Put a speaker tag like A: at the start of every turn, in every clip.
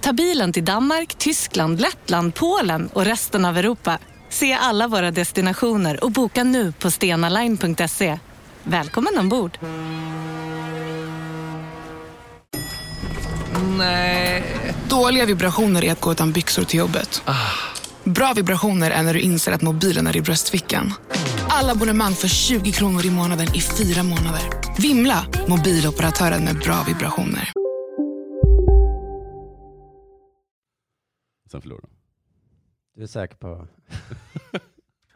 A: Ta bilen till Danmark, Tyskland, Lettland, Polen och resten av Europa. Se alla våra destinationer och boka nu på stenaline.se. Välkommen ombord!
B: Dåliga vibrationer är att gå utan byxor till jobbet. Bra vibrationer är när du inser att mobilen är i bröstfickan. Alla abonnemang för 20 kronor i månaden i fyra månader. Vimla! Mobiloperatören med bra vibrationer.
C: Sen förlorade de.
D: Du är säker på...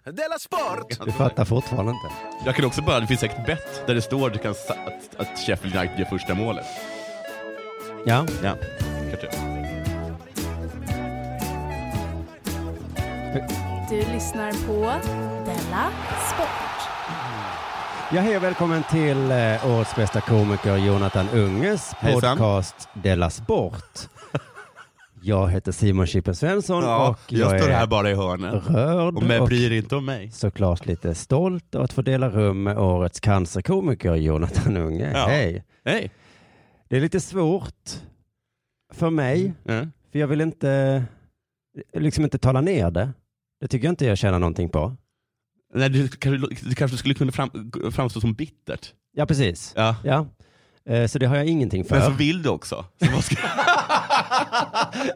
E: Della Sport!
D: Du fattar fortfarande inte.
C: Jag kan också bara, det finns säkert bett där det står du kan, sa- att, att Sheffield United gör första målet.
D: Ja.
C: Ja, kanske.
F: Du lyssnar på Della Sport.
D: ja hej och välkommen till eh, årets bästa komiker Jonathan Unges
C: Hejsan.
D: podcast Della Sport. Jag heter Simon Chippen Svensson och jag, är
C: bara i hörnet.
D: rörd och,
C: inte om mig.
D: såklart lite stolt att få dela rum med årets cancerkomiker Jonathan Unge.
C: Ja.
D: Hej!
C: Nej.
D: Det är lite svårt för mig,
C: Mm.
D: för jag vill inte, liksom inte tala ner det. Det tycker jag inte jag tjänar någonting på.
C: Nej, du, kanske, du kanske skulle kunna fram, framstå som bittert.
D: Ja, precis.
C: Ja.
D: Ja. Eh, Så det har jag ingenting för.
C: Men så vill du också. Så vad ska,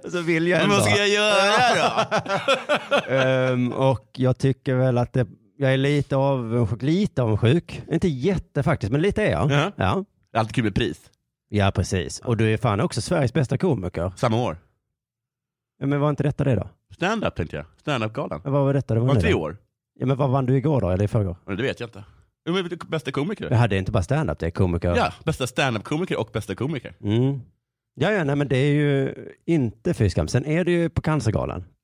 D: Så vill jag
C: men
D: ändå.
C: vad ska jag göra då?
D: Ehm, och jag tycker väl att det, jag är lite avundsjuk, lite avundsjuk. Inte jätte faktiskt, men lite är jag.
C: Ja.
D: Ja.
C: Det är Alltid kul med pris.
D: ja, precis. Och du är fan också Sveriges bästa komiker.
C: Samma år.
D: Ja, men var inte detta det då?
C: Stand-up tänkte jag. Stand-up-galan.
D: Men Vad var detta? Det
C: Om
D: nu
C: tre
D: då?
C: år?
D: Ja, men vad vann du igår då, eller i förrgår?
C: Men Det vet jag inte. Jo, men Bästa komiker?
D: Jag hade inte bara standup, det är komiker.
C: Ja, bästa standup-komiker och bästa komiker.
D: Mm. Ja, ja, nej men det är ju inte fy skam. Sen är det ju på Cancergalan.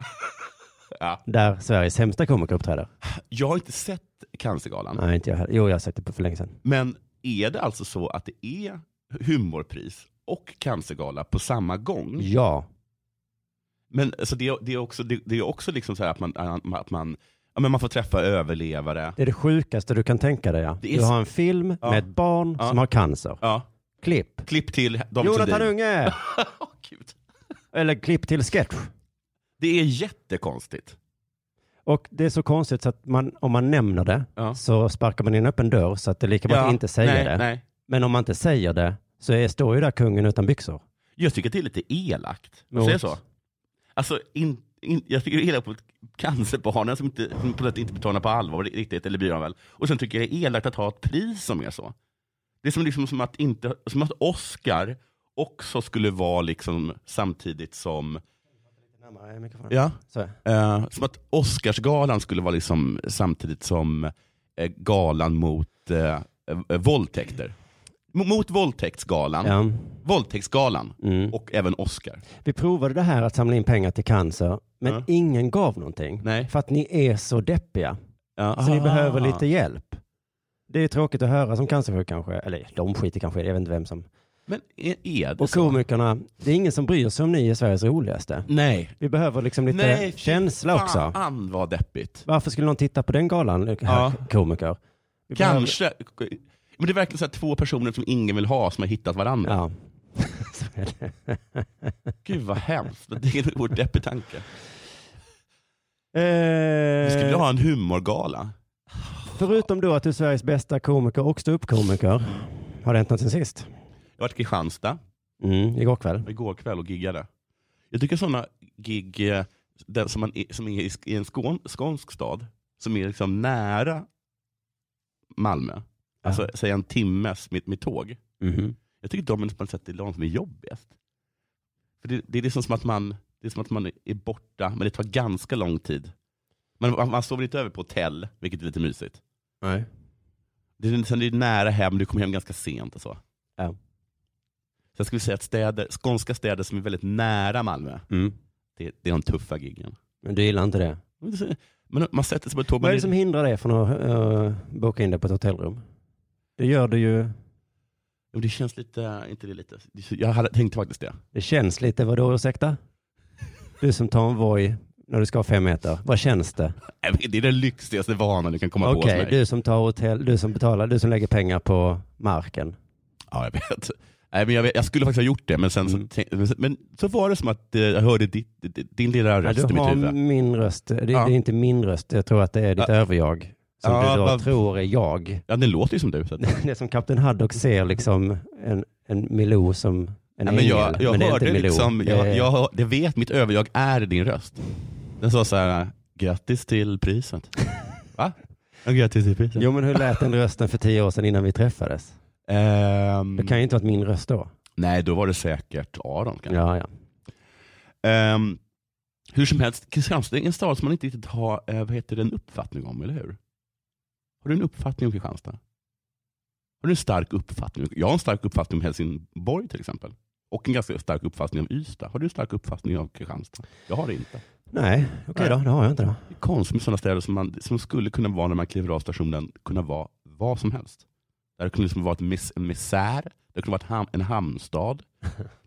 C: Ja.
D: Där Sveriges sämsta komiker uppträder.
C: Jag har inte sett Cancergalan,
D: Nej, inte jag heller. Jo, jag har sett det på för länge sedan.
C: men är det alltså så att det är humorpris och cancergala på samma gång?
D: Ja,
C: Men alltså, det, det är också, det, det är också liksom så här att man, att man, ja, men man får träffa överlevare.
D: Det är det sjukaste du kan tänka dig. Ja.
C: Det är
D: Du
C: så-
D: har en film
C: Ja.
D: med ett barn
C: Ja.
D: som har cancer.
C: Ja.
D: Klipp.
C: Klipp till David
D: Jonathan
C: Sundin.
D: Unge!
C: Åh, Gud.
D: Eller klipp till sketch.
C: Det är jättekonstigt.
D: Och det är så konstigt så att man, om man nämner det
C: Ja.
D: så sparkar man in en öppen dörr så att det är lika bra att inte säga
C: nej,
D: det.
C: Nej.
D: Men om man inte säger det så är, står ju där kungen utan byxor.
C: Jag tycker att det är lite elakt.
D: Mot-
C: Säg så. Alltså, in, in, jag tycker det är elakt mot cancerbarnen som inte, som på något sätt inte betalar på allvar riktigt, eller blir de väl. Och sen tycker jag det är elakt att ha ett pris som är så. Det är som, liksom, som, att, inte, som att Oscar också skulle vara liksom samtidigt som... Ja.
D: Så.
C: Eh, som att Oscarsgalan skulle vara liksom samtidigt som eh, galan mot eh, eh, våldtäkter. Mot, mot våldtäktsgalan,
D: Ja.
C: våldtäktsgalan
D: Mm.
C: och även Oscar.
D: Vi provade det här att samla in pengar till cancer, men
C: Ja.
D: ingen gav någonting.
C: Nej. Ah.
D: För att ni är så deppiga.
C: Ja.
D: Så ni behöver lite hjälp. Det är tråkigt att höra som cancersjuk kanske. Eller de skiter kanske i det. jag vet inte vem som
C: Men är, är det
D: Och
C: så?
D: komikerna, det är ingen som bryr sig om ni är Sveriges roligaste.
C: Nej.
D: Vi behöver liksom lite
C: Nej, fy
D: känsla också.
C: Fan Ah, vad deppigt.
D: Varför skulle någon titta på den galan,
C: Ja.
D: ja. komiker? Vi behöver-
C: Kanske. Men det är verkligen så här två personer som ingen vill ha som har hittat varandra.
D: Ja. Så är det.
C: Gud vad hemskt. Det är en oerhört deppig tanke. Vi
D: Eh,
C: skulle ha en humorgala.
D: Förutom då att du är Sveriges bästa komiker och ståuppkomiker, har det hänt något sen sist?
C: Jag var i Kristianstad
D: Mm, igår kväll.
C: igår kväll och giggade. Jag tycker sådana gig eh, där som, man är, som är i sk- i en skån, skånsk stad, som är liksom nära Malmö, alltså säg en timmes med, med tåg.
D: Mhm.
C: Jag tycker de är på något sätt det är de som är jobbigast. För det, det är liksom som att man det är som att man är borta, men det tar ganska lång tid. Man, man, man sover inte över på hotell, vilket är lite mysigt.
D: Nej.
C: Det är, sen är det nära hem, du kommer hem ganska sent och så.
D: Ja.
C: Sen skulle vi säga att städer, skånska städer som är väldigt nära Malmö,
D: Mm.
C: det, det är de tuffa giggen.
D: Men du gillar inte det?
C: Men man sätter sig på ett tåg.
D: Vad är det
C: Men
D: som hindrar dig från att eh, boka in dig på ett hotellrum? Det gör du ju.
C: Jo, det känns lite, inte det lite. Jag hade tänkt faktiskt det.
D: Det känns lite, vadå ursäkta? Du som tar en Voi när du ska fem meter, vad känns det?
C: Nej, men Äh, Det är den lyxigaste vanan du kan komma på.
D: Okej,
C: hos mig.
D: du som tar hotell, du som betalar, du som lägger pengar på marken.
C: Ja, jag vet. Nej, men jag, vet, jag skulle faktiskt ha gjort det, men, sen
D: Mm.
C: så, tänk- men- men så var det som att eh, jag hörde ditt, ditt- din lilla
D: Ja,
C: röst i
D: du
C: mitt
D: har
C: huvud.
D: min röst, det, det
C: Ja.
D: är inte min röst, jag tror att det är ditt
C: Ja.
D: överjag. Som
C: Ja,
D: du då
C: vad-
D: tror är jag.
C: Ja, den låter ju som du. Så att,
D: Det är som Kapten Haddock ser liksom en, en Milou som en
C: nej,
D: ängel.
C: men jag jag
D: men det är
C: hörde
D: inte Milou. Eh,
C: liksom,
D: Det
C: jag,
D: är-
C: jag, hör- det vet mitt överjag är din röst. Den sa så här, grattis till priset. Va? Ja, grattis till priset.
D: Jo men hur lät den rösten för tio år sedan innan vi träffades?
C: Ehm,
D: Det kan ju inte varit min röst då.
C: Nej, då var det säkert Aron. Kan.
D: Ja, ja.
C: Ehm, hur som helst, Kristianstad är en stad som man inte riktigt har eh, vad heter det, en uppfattning om, eller hur? Har du en uppfattning om Kristianstad? Har du en stark uppfattning? Jag har en stark uppfattning om Helsingborg till exempel. Och en ganska stark uppfattning om Ystad. Har du en stark uppfattning om Kristianstad? Jag har det inte.
D: Nej, okej då, det har jag inte då.
C: Det är konstigt med sådana städer som, man, som skulle kunna vara när man kliver av stationen, kunna vara vad som helst. Där det kunde liksom vara ett mis, en misär, det kunde vara ett ham, en hamnstad.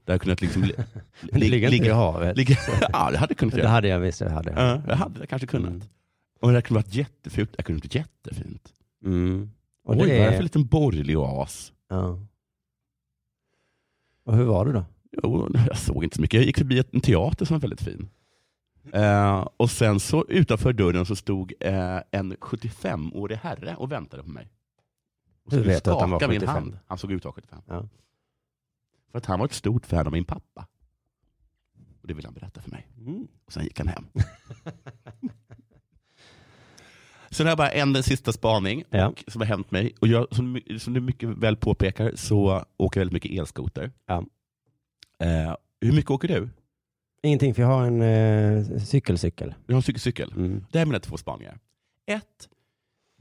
C: Där det kunde liksom li,
D: Men det
C: li-
D: ligger inte i havet.
C: ligga, ja, det hade kunnat
D: Det
C: göra.
D: hade jag visst, det hade jag.
C: Ja, det hade jag kanske kunnat.
D: Mm.
C: Och det hade kunnat varit jättefult. Det kunde varit jättefint.
D: Mm. Och
C: Oj, vad
D: det
C: är det för
D: är...
C: liten borgerlig oas?
D: Ja. Och hur var du då?
C: Jo, jag såg inte så mycket. Jag gick förbi en teater som var väldigt fin. Eh, och sen så utanför dörren så stod eh, en 75-årig herre och väntade på mig. Och
D: Hur
C: skulle
D: vet du att han var
C: skaka min
D: 75?
C: hand. Han såg ut att vara 75.
D: Ja.
C: För att han var ett stort fan av min pappa. Och det ville han berätta för mig. Och sen gick han hem. sen har jag bara en sista spaning
D: Ja.
C: som har hänt mig. Och jag, som, my- som du mycket väl påpekar så åker jag väldigt mycket elskoter.
D: Ja.
C: Eh, hur mycket åker du?
D: Ingenting, för jag har en eh, cykelcykel.
C: Du har en cykelcykel.
D: Mm.
C: Det här är mina två spaningar. Ett,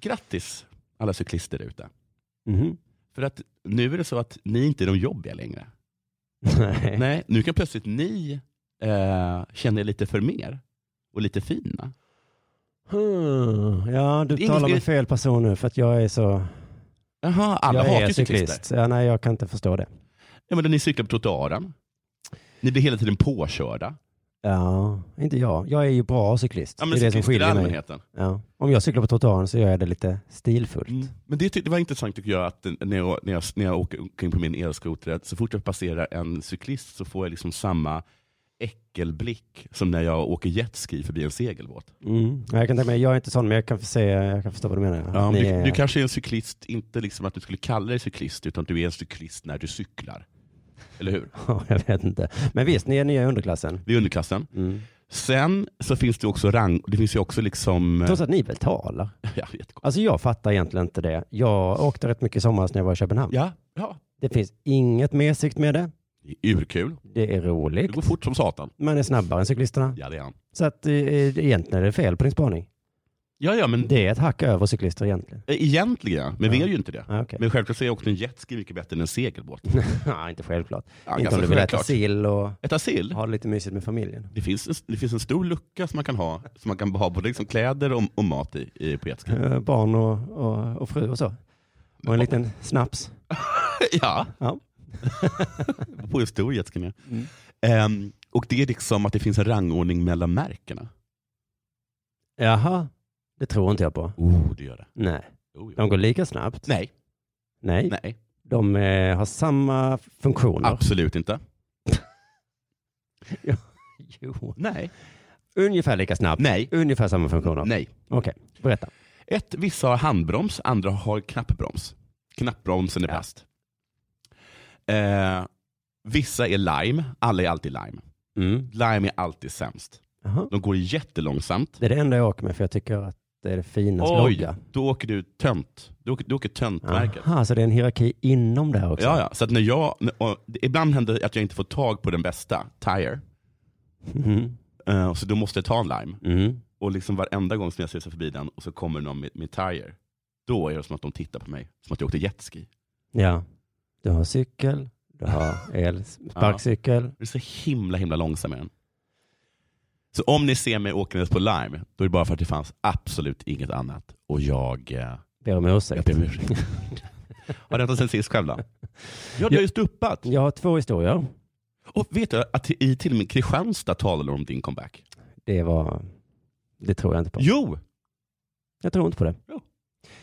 C: grattis alla cyklister där ute. Mm.
D: Mhm.
C: För att nu är det så att ni inte är de jobbiga längre.
D: Nej.
C: Nej, nu kan plötsligt ni eh, känna er lite för mer och lite fina.
D: Hmm.
C: Det är
D: Ja, du
C: ingen-
D: talar med fel person nu för att jag är så...
C: Jaha, alla
D: jag
C: hatar
D: är
C: ju cyklister.
D: cyklist. Ja, nej, jag kan inte förstå det.
C: Ja, men ni cyklar på trottoaren. Ni blir hela tiden påkörda.
D: Ja, inte jag. Jag är ju bra cyklist.
C: Ja,
D: det
C: men
D: är det som
C: cyklister i
D: skiljer mig.
C: allmänheten.
D: Ja. Om jag cyklar på trottoaren så gör jag det lite stilfullt.
C: Mm. Men det, tyckte- det var intressant tycker jag att eh, när jag, när jag, när jag åker omkring på min elskoter, att så fort jag passerar en cyklist så får jag liksom samma äckelblick som när jag åker jetski förbi en segelbåt.
D: Mm. Ja, Jag, kan tänka mig, jag är inte sån, men jag kan, se, jag kan förstå vad du menar.
C: Ja,
D: Att
C: men
D: ni
C: du,
D: är-
C: du kanske är en cyklist, inte liksom att du skulle kalla dig cyklist, utan att du är en cyklist när du cyklar. Eller hur?
D: Ja, jag vet inte. Men visst, ni är nya i underklassen.
C: Det är underklassen.
D: Mm.
C: Sen så finns det också rang, det finns ju också liksom... eh,
D: Trots att ni betalar.
C: Ja, jättekonstigt.
D: Alltså jag fattar egentligen inte det. Jag åkte rätt mycket i somras när jag var i Köpenhamn.
C: ja, ja.
D: Det finns inget mesigt med det.
C: Det är urkul.
D: Det är
C: Det
D: roligt.
C: går fort som satan.
D: Man är snabbare än cyklisterna.
C: Ja, det är han.
D: Så att eh, egentligen är det fel på din spaning.
C: Ja, ja, men
D: Det är ett hack över cyklister egentligen.
C: egentligen, men vi
D: Ja.
C: är ju inte det.
D: Ah, okay.
C: Men självklart så är också en jetski mycket bättre än en segelbåt.
D: Nej, inte självklart.
C: Ja,
D: inte
C: ganska
D: om du Mm. vill äta
C: självklart.
D: sill och
C: Äta sill?
D: ha det lite mysigt med familjen.
C: Det finns, en, det finns en stor lucka som man kan ha, som man kan ha både liksom kläder och, och mat i, i på jetski.
D: Eh, Barn och, och, och fru och så. Och en liten snaps.
C: ja,
D: Ja.
C: på en stor jetski. ja. Ehm, och det är liksom att det finns en rangordning mellan märkena.
D: Jaha, det tror inte jag på.
C: Oh, det gör det.
D: Nej,
C: Oh, ja.
D: de går lika snabbt.
C: Nej,
D: Nej.
C: nej,
D: De eh, har samma funktioner.
C: absolut inte.
D: Jo.
C: Nej,
D: Ungefär lika snabbt.
C: nej,
D: Ungefär samma funktioner.
C: nej.
D: Okej, berätta.
C: Ett, vissa har handbroms, andra har knappbroms. Knappbromsen är
D: Ja.
C: bäst. Eh, vissa är lime, alla är alltid lime.
D: Mm.
C: Lime är alltid sämst.
D: Jaha.
C: De går jättelångsamt.
D: Det är det enda jag åker med för jag tycker att det är det finaste
C: Oj,
D: logga.
C: då åker du tönt. Du åker, du åker töntmärket.
D: Aha, så det är en hierarki inom det här också?
C: Ja, ja. Så att när jag, och ibland händer det att jag inte får tag på den bästa, Tire.
D: Mhm.
C: Eh, så då måste jag ta en lime.
D: Mm.
C: Och liksom varenda gång som jag ser förbi den och så kommer någon med, med Tire. Då är det som att de tittar på mig, som att jag åkte jetski.
D: Ja. Du har cykel, du har el, sparkcykel.
C: Det är så himla himla långsam är den. Så om ni ser mig åkandes på Lime, då är det bara för att det fanns absolut inget annat. Och jag, eh,
D: Ber om
C: jag
D: ursäkt.
C: ber om ursäkt. Har det hänt sen sist själv då? Ja, du har ju stuppat.
D: Jag har två historier.
C: Och vet du att i till och med Kristianstad talade de om din comeback?
D: Det var... Det tror jag inte på.
C: Jo!
D: Jag tror inte på det.
C: Jo.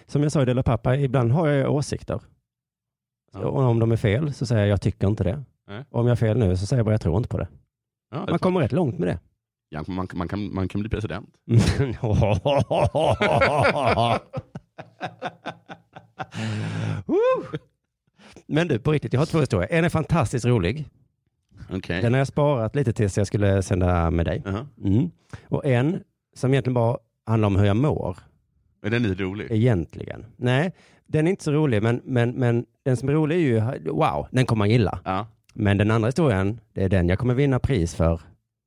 D: Som jag sa i Dela Pappa, ibland har jag åsikter.
C: Ja.
D: Och om de är fel så säger jag jag tycker inte det.
C: Nej.
D: Om jag har fel nu så säger jag bara jag tror inte på det.
C: Ja,
D: Man kommer rätt långt med det.
C: ja, man, man, kan, man kan bli president.
D: Uh. Men du, på riktigt, jag har två historier. En är fantastiskt rolig.
C: Okej.
D: Den har jag sparat lite tills jag skulle sända med dig.
C: Jaha.
D: Mm. Och en som egentligen bara handlar om hur jag mår,
C: Är den lite rolig?
D: egentligen. Nej, den är inte så rolig, men, men, men den som är rolig är ju, wow, den kommer man gilla.
C: Ja.
D: Men den andra historien, det är den jag kommer vinna pris för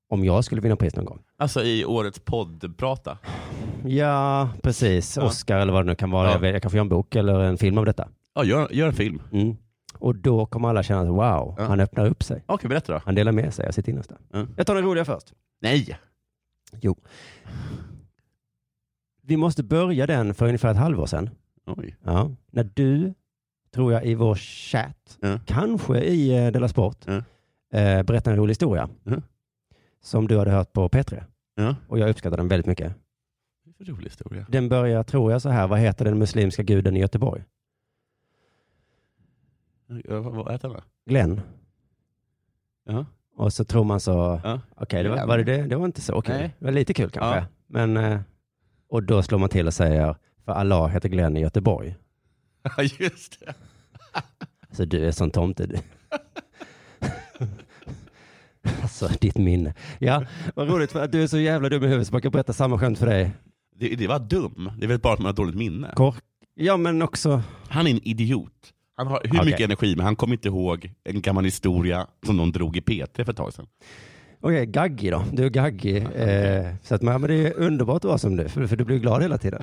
D: om jag skulle vinna pris någon gång.
C: Alltså i årets poddprata.
D: Ja, precis.
C: Ja.
D: Oscar eller vad det nu kan vara.
C: Ja.
D: Jag, vet, jag kanske gör en bok eller en film av detta.
C: Ja, gör, gör en film.
D: Mm. Och då kommer alla känna att wow,
C: Ja.
D: han öppnar upp sig.
C: Okej, berätta då.
D: Han delar med sig av sitt innersta.
C: Ja.
D: Jag tar den roliga först.
C: Nej!
D: Vi måste börja den för ungefär ett halvår sedan.
C: Oj.
D: Ja. När du, tror jag, i vår chatt,
C: Ja.
D: kanske i eh, Della Sport,
C: Ja.
D: eh, berättade en rolig historia
C: Ja.
D: som du hade hört på P3.
C: Ja.
D: Och jag uppskattar den väldigt mycket.
C: Det är en rolig historia.
D: Den börjar, tror jag, så här. Vad heter den muslimska guden i Göteborg?
C: Ja, vad- Vad heter den? då?
D: Glenn.
C: Ja.
D: Och så tror man så,
C: Ja.
D: okej, det var, var det, det, det var inte så kul.
C: Nej.
D: Det var lite kul kanske.
C: Ja.
D: Men, eh, och då slår man till och säger, för Allah heter Glenn i Göteborg.
C: Ja, just det.
D: Alltså du är sån tomte du. alltså ditt minne. Ja, vad roligt för att du är så jävla dum i huvudet så man kan berätta samma skämt för dig.
C: det. Det var dum. Det är väl bara att man har dåligt minne.
D: Kork. Ja men också,
C: Han är en idiot. Han har hur
D: Okej.
C: mycket energi, men han kommer inte ihåg en gammal historia som någon drog i PT för ett tag sedan.
D: okej gaggig då. Du är gaggig. Eh, så att, men men det är underbart att vara som du, för, för du blir glad hela tiden.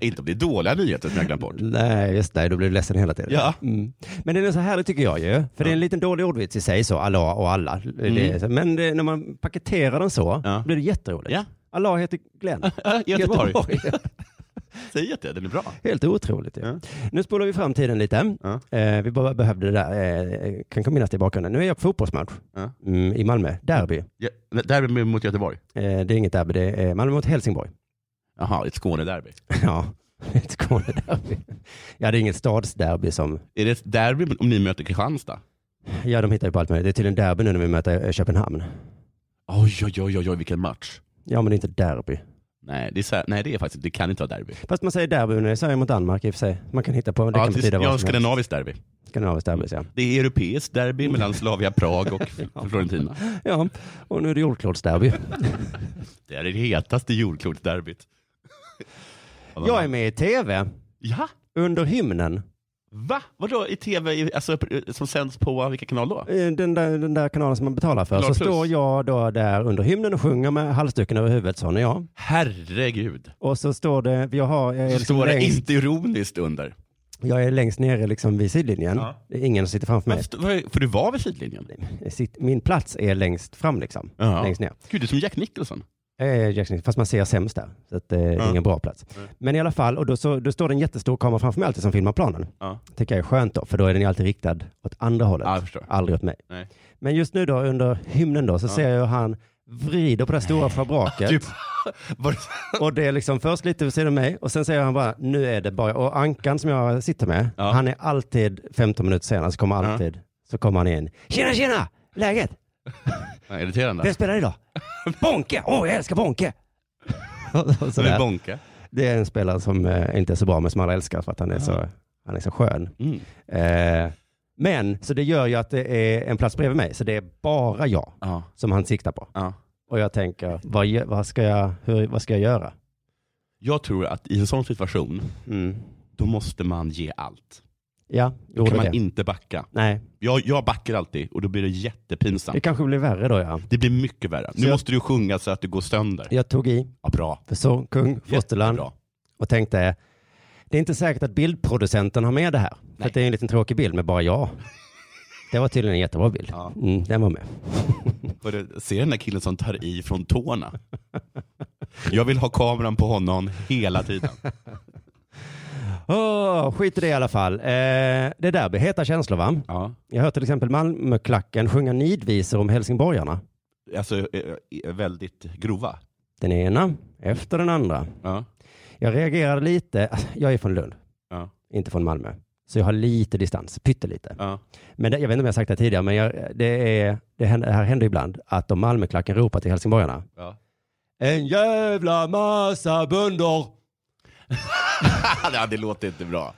C: Inte om det är dåliga nyheter som jag glömt bort.
D: Nej, just det. Då blir du ledsen hela tiden.
C: Ja.
D: Mm. Men den är så härlig tycker jag ju. För det är en liten dålig ordvits i sig så, Allah och alla. Det är så- Men det, när man paketerar den så
C: Mm. Ja.
D: blir det jätteroligt.
C: Ja.
D: Allah heter Glenn.
C: Ja, Göteborg. Säg att det, den är bra.
D: Helt otroligt. ju.
C: Ja.
D: Nu spolar vi fram tiden lite.
C: Ja.
D: Eh, vi bara behövde det där. Eh, kan komma minnas det i bakgrunden. Nu är jag på fotbollsmatch
C: Ja.
D: mm, i Malmö. Derby.
C: Ja, derby mot Göteborg.
D: Eh, det är inget derby, det är Malmö mot Helsingborg.
C: Jaha, ett Skånederby.
D: ja, ett Skånederby. Ja, det är inget stadsderby som
C: Är det ett derby om ni möter Kristianstad?
D: Ja, de hittar ju på allt möjligt. Det är tydligen derby nu när vi möter eh, Köpenhamn.
C: Oj, oj, oj, oj, oj vilken match.
D: Ja, men det är inte derby.
C: Nej, det, är så här, nej, det är faktiskt, det kan inte vara derby.
D: Fast man säger derby när det är Sverige mot Danmark i och för sig. Man kan hitta på, det
C: Ja,
D: kan
C: det
D: betyda
C: är ja,
D: vad som helst.
C: skandinaviskt derby.
D: Skandinaviskt derby, ja.
C: Det är europeiskt derby mellan Slavia Prag och Florentina.
D: ja. Och nu är det jordklotsderby.
C: Det är det hetaste jordklotsderbyt.
D: Jag är med i tv
C: Ja,
D: under hymnen.
C: va? Vadå i tv i- alltså, som sänds på vilka kanal då?
D: Eh, Den där, den där kanalen som man betalar för.
C: Klar
D: Så
C: plus.
D: står jag då där under hymnen och sjunger med halsduken över huvudet, sån är jag.
C: Herregud.
D: Och så står det, jag, har, jag, är,
C: Det
D: liksom
C: står det
D: längst,
C: inte ironiskt under.
D: jag är längst nere liksom vid sidlinjen.
C: Ja. Alltså.
D: Det är ingen som sitter framför mig.
C: Fast, vad- För du var vid sidlinjen?
D: Sitt- Min plats är längst fram liksom,
C: Ja.
D: längst ner.
C: Gud, du är som Jack Nicholson.
D: Eh, Jackson, fast man ser sämst där. Så att, eh, det är
C: Ja.
D: ingen bra plats. Men i alla fall, och då, så, då står det en jättestor kamera framför mig alltid som filmar planen.
C: Ja.
D: Tycker jag är skönt då, för då är den ju alltid riktad åt andra hållet.
C: Ja, jag förstår.
D: Aldrig åt mig.
C: Nej.
D: Men just nu då, under hymnen då, så ser jag hur han vrider på det här stora schabraket.
C: Typ. Var,
D: Och det är liksom först lite vid sidan om mig och sen säger han bara, nu är det bara, och Ankan som jag sitter med,
C: Ja.
D: han är alltid 15 minuter senare, så kommer
C: Ja.
D: alltid, så kommer han in. Tjena, tjena! Läget?
C: Ja, irriterande.
D: Vem spelar idag? Bonke! Åh, jag älskar Bonke! Och
C: Det
D: sådär.
C: är Bonke.
D: Det är en spelare som eh, inte är så bra, men som alla älskar för att han är, så, han är så skön.
C: Mm.
D: Eh, men, så det gör ju att det är en plats bredvid mig, så det är bara jag
C: Ja.
D: som han siktar på.
C: Ja.
D: Och jag tänker, vad, gö- vad, ska, jag, hur, vad ska jag göra?
C: Jag tror att i en sån situation,
D: Mm.
C: då måste man ge allt.
D: Ja,
C: Då
D: gjorde
C: kan
D: det.
C: man inte backa.
D: Nej,
C: Jag, jag backar alltid och då blir det
D: det
C: jättepinsamt.
D: kanske blir värre då ja.
C: Det blir mycket värre. Nu
D: jag-
C: måste du sjunga så att du går sönder.
D: Jag tog i
C: Ja, bra.
D: för så, kung, fosterland
C: Jättebra.
D: och tänkte, det är inte säkert att bildproducenten har med det här. För att det är en liten tråkig bild med bara jag. Det var tydligen en jättebra bild.
C: Ja.
D: Mm, den var med.
C: Hörru, ser den där killen som tar i från tårna? Jag vill ha kameran på honom hela tiden.
D: Åh, skit i det i alla fall. Eh, det där blir heta känslor va?
C: Ja.
D: Jag hör till exempel Malmöklacken sjunga nidvisor om helsingborgarna.
C: Alltså eh, eh, väldigt grova.
D: Den ena efter den andra.
C: Ja.
D: Jag reagerade lite, alltså, jag är från Lund,
C: Ja.
D: inte från Malmö. Så jag har lite distans, pyttelite.
C: Ja.
D: Men det, jag vet inte om jag har sagt det tidigare, men jag, det, är, det, händer, det här händer ibland att de Malmöklacken ropar till helsingborgarna.
C: Ja.
D: En jävla massa bönder.
C: ja, det låter inte bra.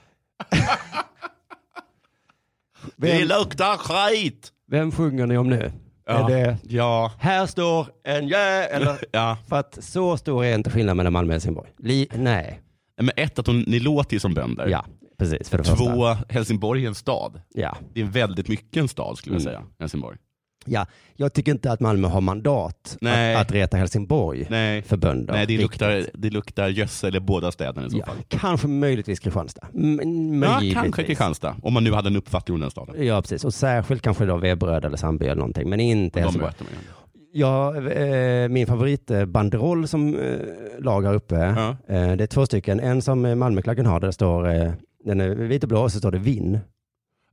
C: Det
D: Vem,
C: luktar skit!
D: vem sjunger ni om nu?
C: Ja.
D: Är det,
C: Ja.
D: här står en jä... Eller,
C: ja.
D: för att så stor är inte skillnaden mellan Malmö och Helsingborg. Li, nej,
C: Men ett, att hon, ni låter ju som bönder.
D: ja, precis. För det första.
C: Två, Helsingborg är en stad.
D: Ja.
C: Det är väldigt mycket en stad skulle jag
D: Mm.
C: säga. Helsingborg.
D: ja, jag tycker inte att Malmö har mandat
C: Nej.
D: att, att reta Helsingborg
C: Nej,
D: för bönder.
C: Nej det,
D: Riktigt.
C: luktar, det luktar gödsel i båda städerna i så
D: Ja,
C: fall.
D: kanske möjligtvis Kristianstad. M-
C: Ja,
D: möjligtvis.
C: kanske Kristianstad. Om man nu hade en uppfattning om den staden.
D: Ja, precis. Och särskilt kanske då Veberöd eller Sandby eller någonting, men inte
C: De
D: Helsingborg.
C: möter man ju.
D: Ja, eh, min favoritbanderoll som eh, lag har uppe,
C: Ja.
D: eh, det är två stycken. En som eh, Malmöklacken har, där det står, eh, den är vit och blå och så står det vinn.